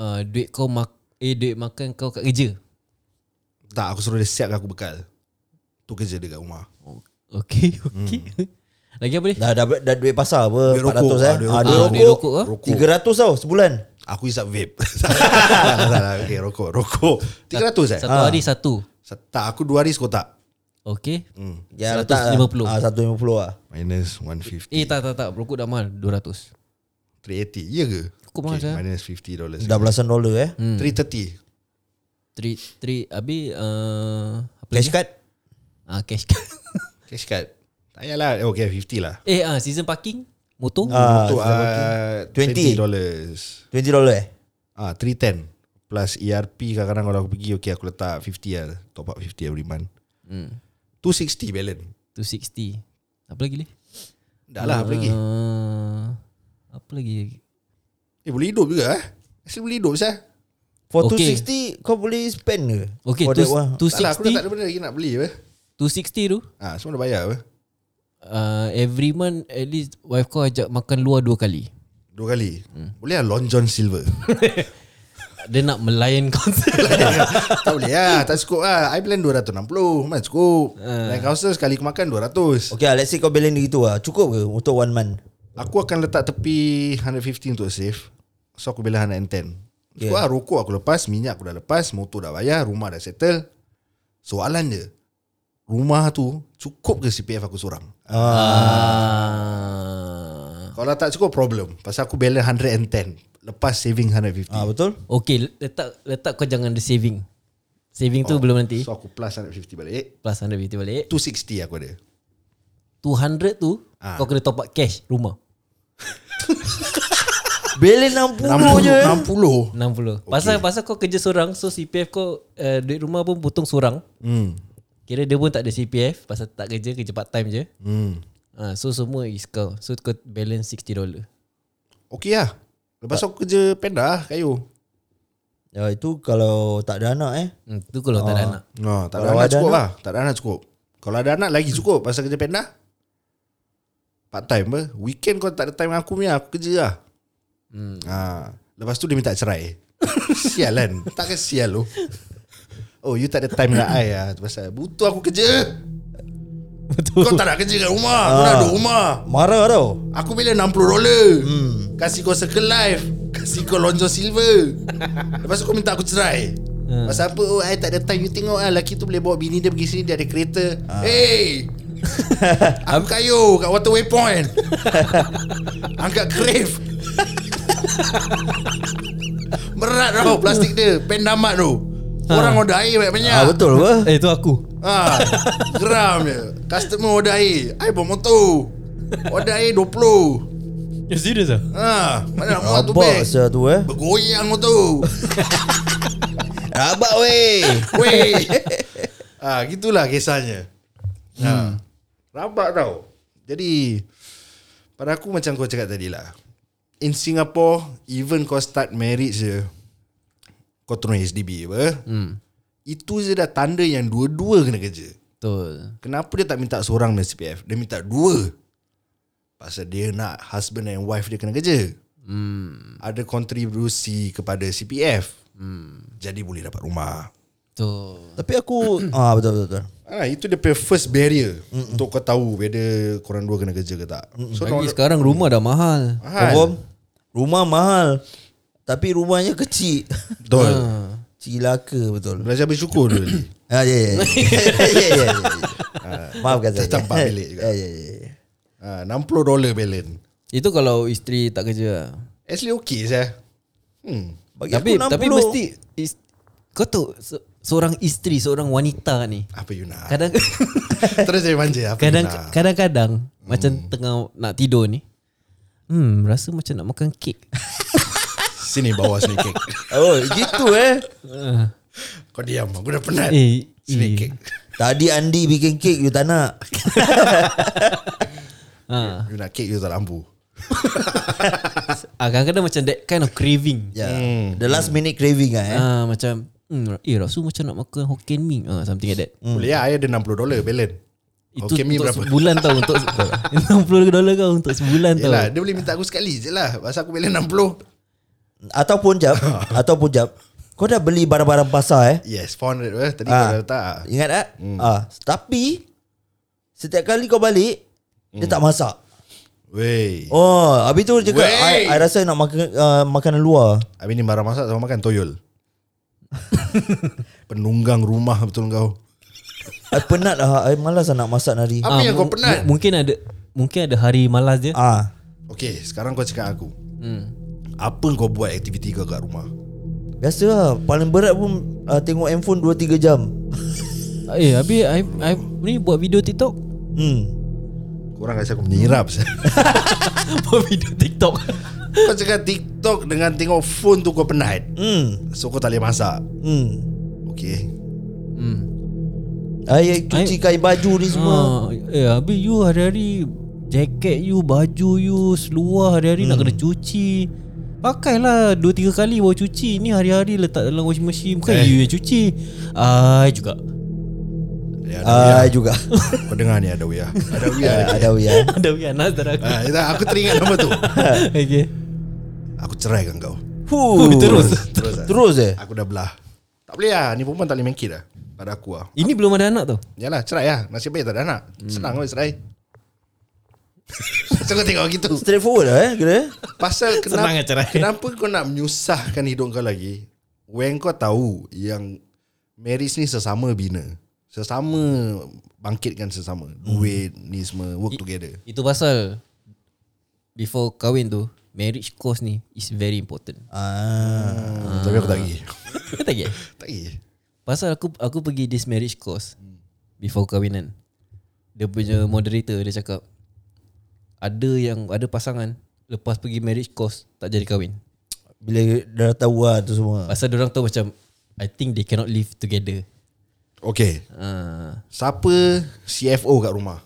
Speaker 3: uh, Duit kau mak Eh duit makan kau kat kerja
Speaker 4: Tak aku suruh dia siapkan aku bekal Tu kerja dekat rumah
Speaker 3: Okay Okay Lagi apa ni?
Speaker 2: Hmm. Dah, dah, dah duit pasar apa
Speaker 4: Duit
Speaker 2: 400
Speaker 4: rokok,
Speaker 2: eh
Speaker 4: ah, duit
Speaker 2: ah,
Speaker 3: rokok. Ah, duit rokok ke?
Speaker 2: rokok 300 tau sebulan
Speaker 4: Aku isap vape Salah salah Okay rokok Rokok 300 eh
Speaker 3: Satu hari
Speaker 2: Ah.
Speaker 3: satu
Speaker 4: Sa- Tak aku 2 hari sekotak
Speaker 3: Okay
Speaker 4: hmm.
Speaker 2: Ya,
Speaker 3: 150.
Speaker 2: letak, ah, 150 lah
Speaker 4: Minus 150
Speaker 3: Eh tak tak tak Rokok dah mahal 200
Speaker 4: 380 Ya ke?
Speaker 3: Rokok mahal
Speaker 4: okay,
Speaker 3: saya
Speaker 4: Minus 50 dollars
Speaker 2: Dah belasan dolar eh
Speaker 3: Hmm.
Speaker 4: 330
Speaker 3: Three, three, Habis uh, apa
Speaker 2: Cash
Speaker 3: lagi?
Speaker 2: card
Speaker 3: Ah, cash card
Speaker 4: Cash card Tak payahlah Eh, Okay 50 lah
Speaker 3: Eh ah, season parking Motor
Speaker 2: ah,
Speaker 4: Tu ah,
Speaker 2: 20.
Speaker 4: 20 dollars
Speaker 2: 20 dolar eh
Speaker 4: Ah 310 Plus ERP kadang-kadang kalau aku pergi Okay aku letak 50 lah Top up 50 every month
Speaker 3: hmm.
Speaker 4: 260 balance
Speaker 3: 260 Apa lagi ni?
Speaker 4: Dah lah apa lagi
Speaker 3: Ah, apa lagi?
Speaker 4: Eh boleh hidup juga eh Actually boleh hidup sah
Speaker 2: For
Speaker 3: Okay.
Speaker 2: 260 kau boleh spend ke
Speaker 3: Okay,
Speaker 2: For
Speaker 3: tu,
Speaker 2: that one?
Speaker 4: Tak lah aku dah tak
Speaker 3: 260
Speaker 4: ada benda lagi nak beli apa
Speaker 3: 260 tu
Speaker 4: Ah semua dah bayar apa
Speaker 3: uh, Every month At least Wife kau ajak makan luar dua kali
Speaker 4: Dua kali
Speaker 3: Hmm.
Speaker 4: Boleh lah Long John Silver
Speaker 3: Dia nak melayan konsert
Speaker 4: Tak boleh lah Tak cukup lah I plan 260 Mana cukup Naik kawasan sekali aku makan 200
Speaker 2: Okay lah let's say kau balance gitu lah Cukup ke untuk one month
Speaker 4: Aku akan letak tepi 150 untuk save So aku bela 110
Speaker 2: Okay.
Speaker 4: okay. Cukup lah rokok aku lepas Minyak aku dah lepas Motor dah bayar Rumah dah settle Soalan je Rumah tu Cukup ke CPF aku seorang Ah,
Speaker 3: ah.
Speaker 4: Kalau tak cukup problem Pasal aku bela 110 Lepas saving 150
Speaker 3: Eh.
Speaker 2: Ah Betul
Speaker 3: Okay letak letak kau jangan ada saving Saving
Speaker 2: Oh,
Speaker 3: tu belum nanti
Speaker 4: So aku plus 150 balik
Speaker 3: Plus 150 balik
Speaker 4: 260 aku ada
Speaker 3: 200 tu
Speaker 4: Ah.
Speaker 3: Kau kena top up cash rumah
Speaker 2: Balance 60 je
Speaker 4: 60
Speaker 3: 60 okay. Pasal pasal kau kerja seorang So CPF kau uh, Duit rumah pun potong seorang
Speaker 4: hmm.
Speaker 3: Kira dia pun tak ada CPF Pasal tak kerja Kerja part time je
Speaker 4: hmm.
Speaker 3: ha, So semua is kau So kau balance $60
Speaker 4: Okay lah Lepas tu aku kerja panda lah Kayu
Speaker 2: Ya itu kalau tak ada anak eh
Speaker 3: hmm, Tu kalau tak ada anak
Speaker 4: no, Tak ada
Speaker 2: Kalau
Speaker 4: anak
Speaker 2: ada
Speaker 4: cukup
Speaker 2: anak.
Speaker 4: lah Tak ada anak cukup Kalau ada anak lagi cukup Pasal kerja panda Part time apa Weekend kau tak ada time dengan aku punya Aku kerja lah
Speaker 3: hmm.
Speaker 4: ha. Lepas tu dia minta cerai Sial kan Takkan sial lu Oh you tak ada time dengan I lah Pasal butuh aku kerja Betul. Ah. Kau tak nak kerja kat rumah Kau nak duduk rumah
Speaker 2: Marah tau
Speaker 4: Aku bela 60 dolar hmm. Kasih kau circle life Kasih kau lonjor silver Lepas tu kau minta aku cerai hmm. Pasal apa oh, I tak ada time You tengok lah Lelaki tu boleh bawa bini dia pergi sini Dia ada kereta Hey Aku kayu kat waterway point Angkat crave Berat tau plastik dia Pendamat tu Orang order air banyak-banyak
Speaker 2: Ah Betul apa
Speaker 3: Eh tu aku
Speaker 4: Ha, geram je Customer order air I bawa motor Order air 20
Speaker 3: You serious lah
Speaker 4: Ha, mana nak muat tu
Speaker 2: Rabak
Speaker 4: beg
Speaker 2: saya tu eh
Speaker 4: Bergoyang motor
Speaker 2: Rabak weh
Speaker 4: Weh ha, Gitulah kisahnya ha. Rabak tau Jadi Pada aku macam kau cakap tadi lah In Singapore Even kau start marriage je Kau turun HDB apa
Speaker 3: hmm.
Speaker 4: Itu je dah tanda yang dua-dua kena kerja
Speaker 3: Betul
Speaker 4: Kenapa dia tak minta seorang dengan CPF? Dia minta dua. Pasal dia nak husband and wife dia kena kerja.
Speaker 3: hmm.
Speaker 4: Ada kontribusi kepada CPF. Hmm. Jadi boleh dapat rumah.
Speaker 3: Betul
Speaker 2: Tapi aku ah betul betul. betul.
Speaker 4: Ah, itu dia punya first barrier Mm-mm. untuk kau tahu whether korang dua kena kerja ke tak. So,
Speaker 2: Ah.
Speaker 3: Lagi sekarang rumah dah mahal
Speaker 2: Confirm. Rumah mahal Tapi rumahnya kecil Ah.
Speaker 4: Betul
Speaker 2: Cilaka betul
Speaker 4: Belajar bersyukur dulu ni.
Speaker 2: ah, Ya ya ya Ya ya ya Maafkan saya
Speaker 4: Tetap empat bilik juga.
Speaker 2: Ya ya ya
Speaker 4: ha, 60 dolar balance
Speaker 3: Itu kalau isteri tak kerja lah.
Speaker 4: Actually okay saya Hmm
Speaker 2: Bagi
Speaker 3: Tapi
Speaker 2: aku 60
Speaker 3: tapi mesti is, Kau tahu se- Seorang isteri Seorang wanita ni
Speaker 4: Apa you nak
Speaker 3: Kadang
Speaker 2: Ah.
Speaker 4: Terus jadi manja Apa
Speaker 3: Kadang
Speaker 4: you nak
Speaker 3: kadang-kadang Macam
Speaker 2: Hmm.
Speaker 3: tengah Nak tidur ni Hmm Rasa macam nak makan kek
Speaker 4: Sini bawa sini kek
Speaker 2: Oh gitu eh
Speaker 4: Kau diam Aku dah penat
Speaker 3: Eh
Speaker 4: Sini
Speaker 3: eh.
Speaker 4: kek
Speaker 2: Tadi Andi bikin kek You tak nak
Speaker 3: ha.
Speaker 4: You nak kek you tak lampu
Speaker 3: Ah, Kadang-kadang macam That kind of craving
Speaker 2: Ya. The last minute craving lah eh.
Speaker 3: ah, Macam hmm, Eh rasa macam nak makan Hokkien Mee ah, Something like that
Speaker 4: Boleh lah I ada 60 dolar balance
Speaker 3: Itu
Speaker 4: Okay me
Speaker 3: untuk
Speaker 4: berapa
Speaker 3: sebulan tau Untuk 60 dolar kau Untuk sebulan tau
Speaker 4: Yelah dia boleh minta aku sekali je lah Pasal aku balance 60
Speaker 2: Ataupun jap Ataupun jap Kau dah beli barang-barang pasar eh
Speaker 4: Yes 400 eh. Tadi
Speaker 2: Ah.
Speaker 4: kau dah letak ah.
Speaker 2: Ingat tak? Ah, tapi Setiap kali kau balik Dia tak masak
Speaker 4: Wey
Speaker 2: Oh Habis tu dia cakap I,
Speaker 4: Wey.
Speaker 2: I rasa nak makan uh, makanan luar
Speaker 4: Habis ni barang masak sama makan toyol Penunggang rumah betul kau
Speaker 2: I penat lah I malas lah nak masak nari
Speaker 4: Apa yang kau
Speaker 3: Ah, mu-
Speaker 4: penat?
Speaker 3: mu- Mungkin ada Mungkin ada hari malas dia
Speaker 2: Ah,
Speaker 4: Okay sekarang kau cakap aku
Speaker 3: hmm.
Speaker 4: Apa kau buat aktiviti kau kat rumah
Speaker 2: Biasa lah Paling berat pun uh, Tengok handphone 2-3 jam
Speaker 3: Eh habis I, I, Ni buat video TikTok
Speaker 2: Hmm
Speaker 4: Korang rasa aku menyirap sah.
Speaker 3: Buat video TikTok
Speaker 4: Kau cakap TikTok dengan tengok phone tu kau penat
Speaker 2: Hmm
Speaker 4: So kau tak boleh masak
Speaker 2: Hmm
Speaker 4: Okay
Speaker 3: hmm.
Speaker 2: I cuci kain baju ni semua
Speaker 3: ah, Eh habis you hari-hari Jaket you Baju you Seluar hari-hari nak kena cuci Pakailah 2-3 kali baru cuci Ni hari-hari letak dalam washing machine Bukan
Speaker 4: Eh.
Speaker 3: you yang cuci I juga
Speaker 4: ya,
Speaker 2: Ah,
Speaker 4: ada
Speaker 2: juga
Speaker 4: wia. Kau dengar ni ada wia Ada wia
Speaker 2: Ah, Ada weh eh.
Speaker 3: Ada punya Nas darah aku
Speaker 4: Ah, itu Aku teringat nama tu
Speaker 3: Okay
Speaker 4: Aku ceraikan kau
Speaker 2: Huh.
Speaker 3: Terus.
Speaker 4: Terus ah.
Speaker 2: Terus eh
Speaker 4: Aku dah belah Tak boleh lah Ni perempuan tak boleh main kid lah Pada aku lah
Speaker 3: Ini belum ada anak tau
Speaker 4: Yalah cerai lah Nasib baik tak ada anak
Speaker 3: Hmm.
Speaker 4: Senang kau cerai So kau tengok gitu
Speaker 2: Straightforward lah eh Kira
Speaker 4: Pasal kenapa,
Speaker 3: Senang lah cerai.
Speaker 4: kenapa kau nak menyusahkan hidup kau lagi When kau tahu Yang Marriage ni sesama bina Sesama Bangkitkan sesama
Speaker 3: Hmm.
Speaker 4: Duit ni semua Work together
Speaker 3: Itu pasal Before kahwin tu Marriage course ni Is very important
Speaker 2: ah.
Speaker 4: Tapi aku tak pergi
Speaker 3: Kau tak get?
Speaker 4: Tak pergi
Speaker 3: Pasal aku aku pergi this marriage course Before kahwinan Dia punya moderator dia cakap Ada yang Ada pasangan Lepas pergi marriage course Tak jadi kahwin
Speaker 2: Bila dah tahu lah tu semua
Speaker 3: Pasal orang tahu macam I think they cannot live together
Speaker 4: Okay
Speaker 3: uh,
Speaker 4: Siapa CFO kat rumah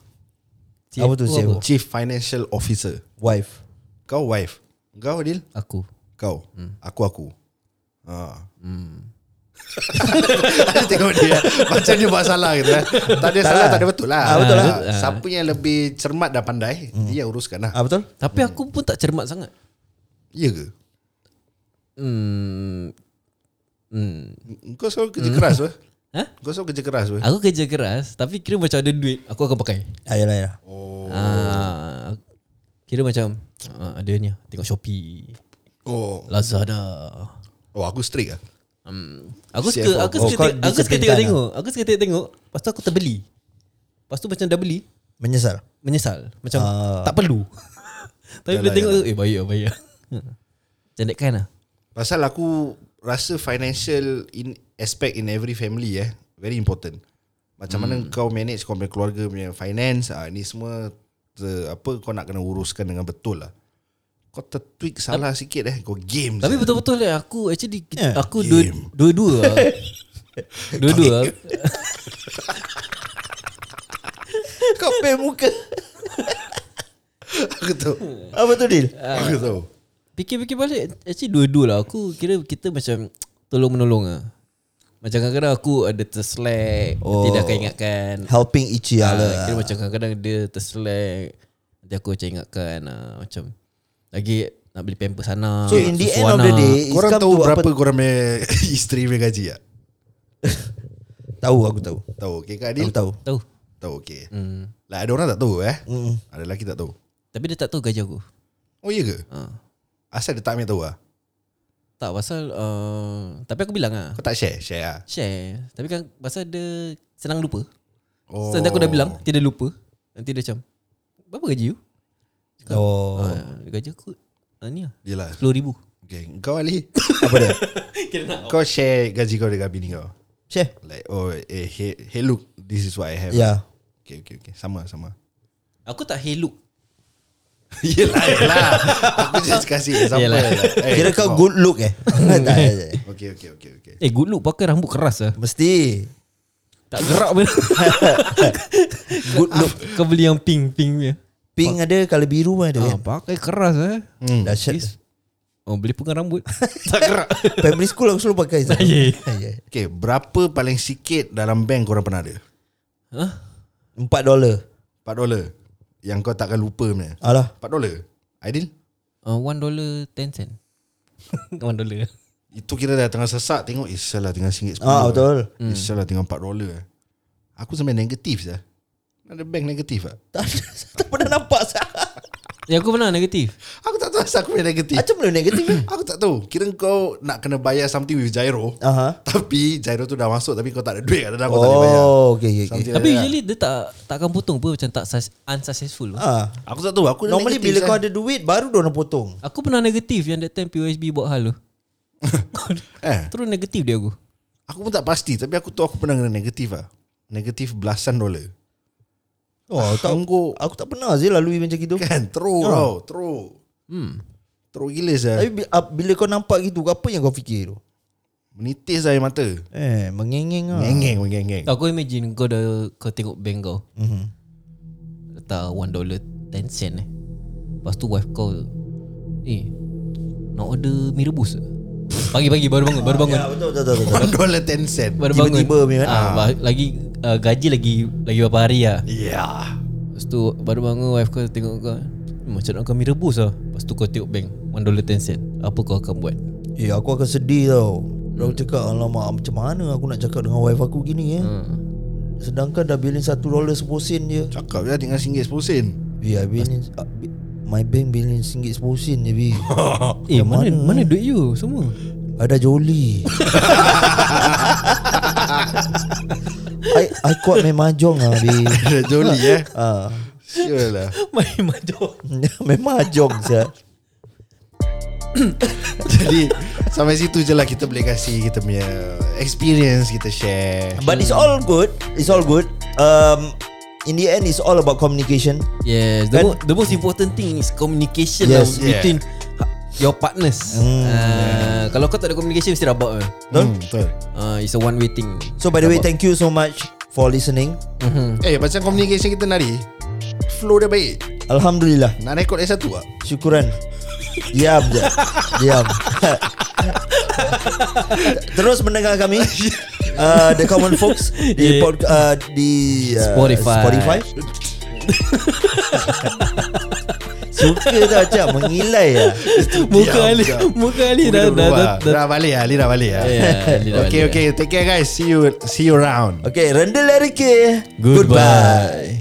Speaker 2: Apa tu, CFO?
Speaker 4: Chief Financial Officer
Speaker 2: Wife
Speaker 4: Kau wife Kau Adil
Speaker 3: Aku
Speaker 4: Kau
Speaker 2: Hmm.
Speaker 4: Aku aku ha. Ada tengok dia Macam dia buat salah gitu eh. Tak ada
Speaker 2: Tak
Speaker 4: salah
Speaker 2: lah.
Speaker 4: tak ada betul lah
Speaker 2: Ah, betul lah.
Speaker 4: Ah, Siapa yang lebih cermat dan pandai Dia yang uruskan lah
Speaker 2: ah, Betul?
Speaker 3: Tapi aku pun tak cermat sangat
Speaker 4: Ya ke?
Speaker 3: Hmm Hmm
Speaker 4: Kau selalu kerja
Speaker 2: Hmm.
Speaker 4: keras ke?
Speaker 3: Hah?
Speaker 4: Kau selalu kerja keras
Speaker 2: Ah.
Speaker 4: ke?
Speaker 3: ha? Aku kerja keras Tapi kira macam ada duit Aku akan pakai
Speaker 2: Ayalah ayalah
Speaker 4: Oh,
Speaker 3: Ah, Kira macam ah, Ada ni lah, Tengok Shopee
Speaker 4: oh.
Speaker 3: Lazada
Speaker 4: oh aku strict lah
Speaker 3: um, Aku
Speaker 4: CFO.
Speaker 3: suka Aku
Speaker 2: Oh,
Speaker 3: suka,
Speaker 2: kau
Speaker 3: tengok- aku suka lah.
Speaker 2: disciplinkan
Speaker 3: tengok-tengok Aku suka tengok-tengok Lepas tu aku terbeli Lepas tu macam dah beli
Speaker 2: Menyesal
Speaker 3: Menyesal Macam
Speaker 2: Ah.
Speaker 3: tak perlu Tapi
Speaker 4: Yalah,
Speaker 3: bila tengok tu Eh baik lah baik lah Macam that kind lah
Speaker 4: Pasal aku rasa financial in aspect in every family eh very important. Macam mana
Speaker 3: Hmm.
Speaker 4: kau manage kau punya keluarga punya finance ah ni semua ter, apa kau nak kena uruskan dengan betul lah. Kau tertweak salah sikit eh kau game.
Speaker 3: Tapi
Speaker 4: je.
Speaker 3: betul-betul lah Aku actually
Speaker 2: Yeah,
Speaker 3: Aku dua-
Speaker 4: game.
Speaker 3: dua-dua lah Dua-dua lah
Speaker 2: Kau pay muka
Speaker 4: aku tahu.
Speaker 2: Apa tu Dil?
Speaker 4: Aku
Speaker 3: Ah.
Speaker 4: tahu.
Speaker 3: Fikir-fikir balik Actually dua-dua lah Aku kira kita macam Tolong menolong lah Macam kadang-kadang aku ada terslack oh. Tidak akan ingatkan
Speaker 2: Helping each
Speaker 3: Ah,
Speaker 2: other
Speaker 3: Kira macam kadang-kadang dia terslack Nanti aku macam ingatkan ah, Macam Lagi nak beli pamper sana
Speaker 2: So in the
Speaker 3: susu
Speaker 2: end of the
Speaker 3: anak.
Speaker 2: day it's
Speaker 4: Korang
Speaker 2: come
Speaker 4: tahu
Speaker 2: to
Speaker 4: berapa
Speaker 2: apa-
Speaker 4: korang punya isteri punya gaji tak?
Speaker 2: Tahu aku tahu
Speaker 4: Tahu okey Kak Adil?
Speaker 2: Aku tahu
Speaker 3: Tahu
Speaker 4: Tahu okey.
Speaker 3: hmm.
Speaker 4: Lah ada orang tak tahu eh.
Speaker 2: Mm.
Speaker 4: Ada lelaki tak tahu.
Speaker 3: Tapi dia tak tahu gaji aku
Speaker 4: Oh iya ke?
Speaker 3: ha.
Speaker 4: Asal dia tak ambil tahu lah
Speaker 3: Tak pasal uh, Tapi aku bilang lah
Speaker 4: Kau tak share Share lah
Speaker 3: Share Tapi kan pasal dia Senang lupa
Speaker 4: oh.
Speaker 3: oh. Nanti aku dah bilang Nanti dia lupa Nanti dia macam Berapa gaji you?
Speaker 2: Oh.
Speaker 3: Oh. Ha, gaji aku ha, Ni lah
Speaker 4: Yelah
Speaker 3: RM10,000
Speaker 4: okay. Kau Ali Apa dia Kau share gaji kau dengan bini kau
Speaker 2: Share.
Speaker 4: Like oh eh, hey, hey look This is what I have
Speaker 2: Yeah.
Speaker 4: Okay okay okay Sama sama
Speaker 3: Aku tak heluk
Speaker 4: Yelah yelah Aku just kasih example
Speaker 3: Yelah.
Speaker 4: Eh,
Speaker 2: Kira kau good look eh. tak, tak, tak.
Speaker 4: Okay okay okay okay
Speaker 3: Eh good look pakai rambut keras lah
Speaker 2: Mesti.
Speaker 3: Tak gerak pun Good look Kau beli yang pink Pink punya
Speaker 2: Pink ada, kalau biru pun ada.
Speaker 3: ha,
Speaker 2: kan?
Speaker 3: Pakai keras lah
Speaker 4: hmm.
Speaker 2: Dahsyat.
Speaker 3: Is- Oh beli pegang rambut Tak gerak
Speaker 2: Primary school aku selalu pakai. Zah.
Speaker 3: Ya.
Speaker 2: Ya.
Speaker 4: Okay Berapa paling sikit Dalam bank korang pernah ada
Speaker 3: Hah?
Speaker 2: Empat dolar.
Speaker 4: 4 dolar Yang kau takkan lupa punya
Speaker 2: Alah.
Speaker 4: 4 dolar Aidil
Speaker 3: Uh, one dollar ten cent One dollar
Speaker 4: Itu kira dah tengah sesak Tengok Eh salah tengah RM1.10
Speaker 2: Ah betul.
Speaker 4: hmm. Eh salah tengah 4 dolar Aku sampai negatif sah Ada bank negatif lah
Speaker 2: Tak ada. Tak pernah nampak sah.
Speaker 3: Ya aku pernah negatif
Speaker 4: Aku tak tahu asal aku punya negatif
Speaker 2: Macam mana negatif ni?
Speaker 4: Aku tak tahu Kira kau nak kena bayar something with gyro
Speaker 2: Aha.
Speaker 4: Tapi gyro tu dah masuk Tapi kau tak ada duit kat dalam Kau tak boleh bayar
Speaker 2: Oh, okay, okay, okay.
Speaker 4: Something
Speaker 3: Tapi
Speaker 4: like that.
Speaker 3: usually dia tak Takkan potong pun Macam tak sus- unsuccessful pun.
Speaker 2: Ah.
Speaker 4: Aku tak tahu aku dah
Speaker 2: Normally
Speaker 4: negatif,
Speaker 2: bila
Speaker 4: sah.
Speaker 2: kau ada duit baru dia orang potong.
Speaker 3: Aku pernah negatif Yang that time POSB buat hal tu
Speaker 4: eh,
Speaker 3: Terus negatif dia aku
Speaker 4: Aku pun tak pasti Tapi aku tahu aku pernah kena negatif lah Negatif belasan dolar
Speaker 2: Oh, tak,
Speaker 4: Sanggup.
Speaker 2: aku tak pernah sih lalui macam gitu.
Speaker 4: Kan teruk oh. tau Teruk hmm. Teruk gila sah
Speaker 2: Tapi bi- ah, bila kau nampak gitu, apa yang kau fikir tu?
Speaker 4: Menitis lah air mata
Speaker 2: Eh, mengengeng ah.
Speaker 4: Ngengeng mengengeng
Speaker 3: Tak kau imagine Kau dah Kau tengok bank kau Letak one dollar ten cent eh Lepas tu wife kau Eh Nak order mie rebus ke? Pagi-pagi baru bangun Baru bangun
Speaker 2: Ya, betul betul betul. betul.
Speaker 4: 1 dolar 10 sen
Speaker 3: Baru bangun
Speaker 2: Tiba-tiba punya kan?
Speaker 3: ah, ba- Lagi uh, Gaji lagi Lagi berapa hari lah
Speaker 4: Yeah
Speaker 3: Lepas tu baru bangun wife kau tengok kau "Hmm, Macam nak kami rebus lah Lepas tu kau tengok bank One dollar ten cent Apa kau akan buat
Speaker 2: Eh, aku akan sedih tau. Aku cakap alamak macam mana aku nak cakap dengan wife aku gini eh. Sedangkan dah bilin 1 dolar 10 sen je.
Speaker 4: Cakap je lah, dengan RM1.10 sen
Speaker 2: Ya, yeah, bilin ah, bi- my bank bilin RM1.10 je bi.
Speaker 3: Eh
Speaker 2: Yang
Speaker 3: mana,
Speaker 2: mana,
Speaker 3: mana duit you semua
Speaker 2: Ada joli. I, I kuat main mahjong lah bi.
Speaker 4: Joli eh
Speaker 2: Ah.
Speaker 4: Sure lah
Speaker 3: Main macam
Speaker 2: main mahjong saya.
Speaker 4: Jadi Sampai situ je lah Kita boleh kasih Kita punya Experience Kita share
Speaker 2: But it's all good. It's all good. Um in the end it's all about communication.
Speaker 3: Yes the,
Speaker 2: Kan-
Speaker 3: mo- the most important thing is communication
Speaker 2: Yes, Hmm.
Speaker 3: yes,
Speaker 4: yeah.
Speaker 3: Between ha- your partners mm, Kalau kau tak ada communication Mesti rabak lah
Speaker 4: Betul? Hmm, Betul
Speaker 3: uh, It's a one way thing
Speaker 2: So by the way, thank you so much for listening.
Speaker 3: Mhm.
Speaker 4: Eh macam communication kita nari Flow dia baik
Speaker 2: Alhamdulillah.
Speaker 4: Nak rekod S1 lah
Speaker 2: Syukuran. Diam je. Diam. Terus mendengar kami uh, The Common Folks di
Speaker 3: Yeah.
Speaker 2: pod, uh, di uh,
Speaker 3: Spotify.
Speaker 2: Spotify. Suka tak macam mengilai ya.
Speaker 3: Muka Ali
Speaker 4: diam.
Speaker 3: Muka Ali
Speaker 4: Muka dia
Speaker 3: dah Dah
Speaker 4: berubah.
Speaker 3: dah- dah
Speaker 4: Dah balik lah Ali dah balik lah
Speaker 3: Yeah, Ali dah
Speaker 4: Okay
Speaker 3: balik. lah.
Speaker 4: okay Take care guys See you See you around
Speaker 2: Okay, Rendel Erike.
Speaker 3: Goodbye.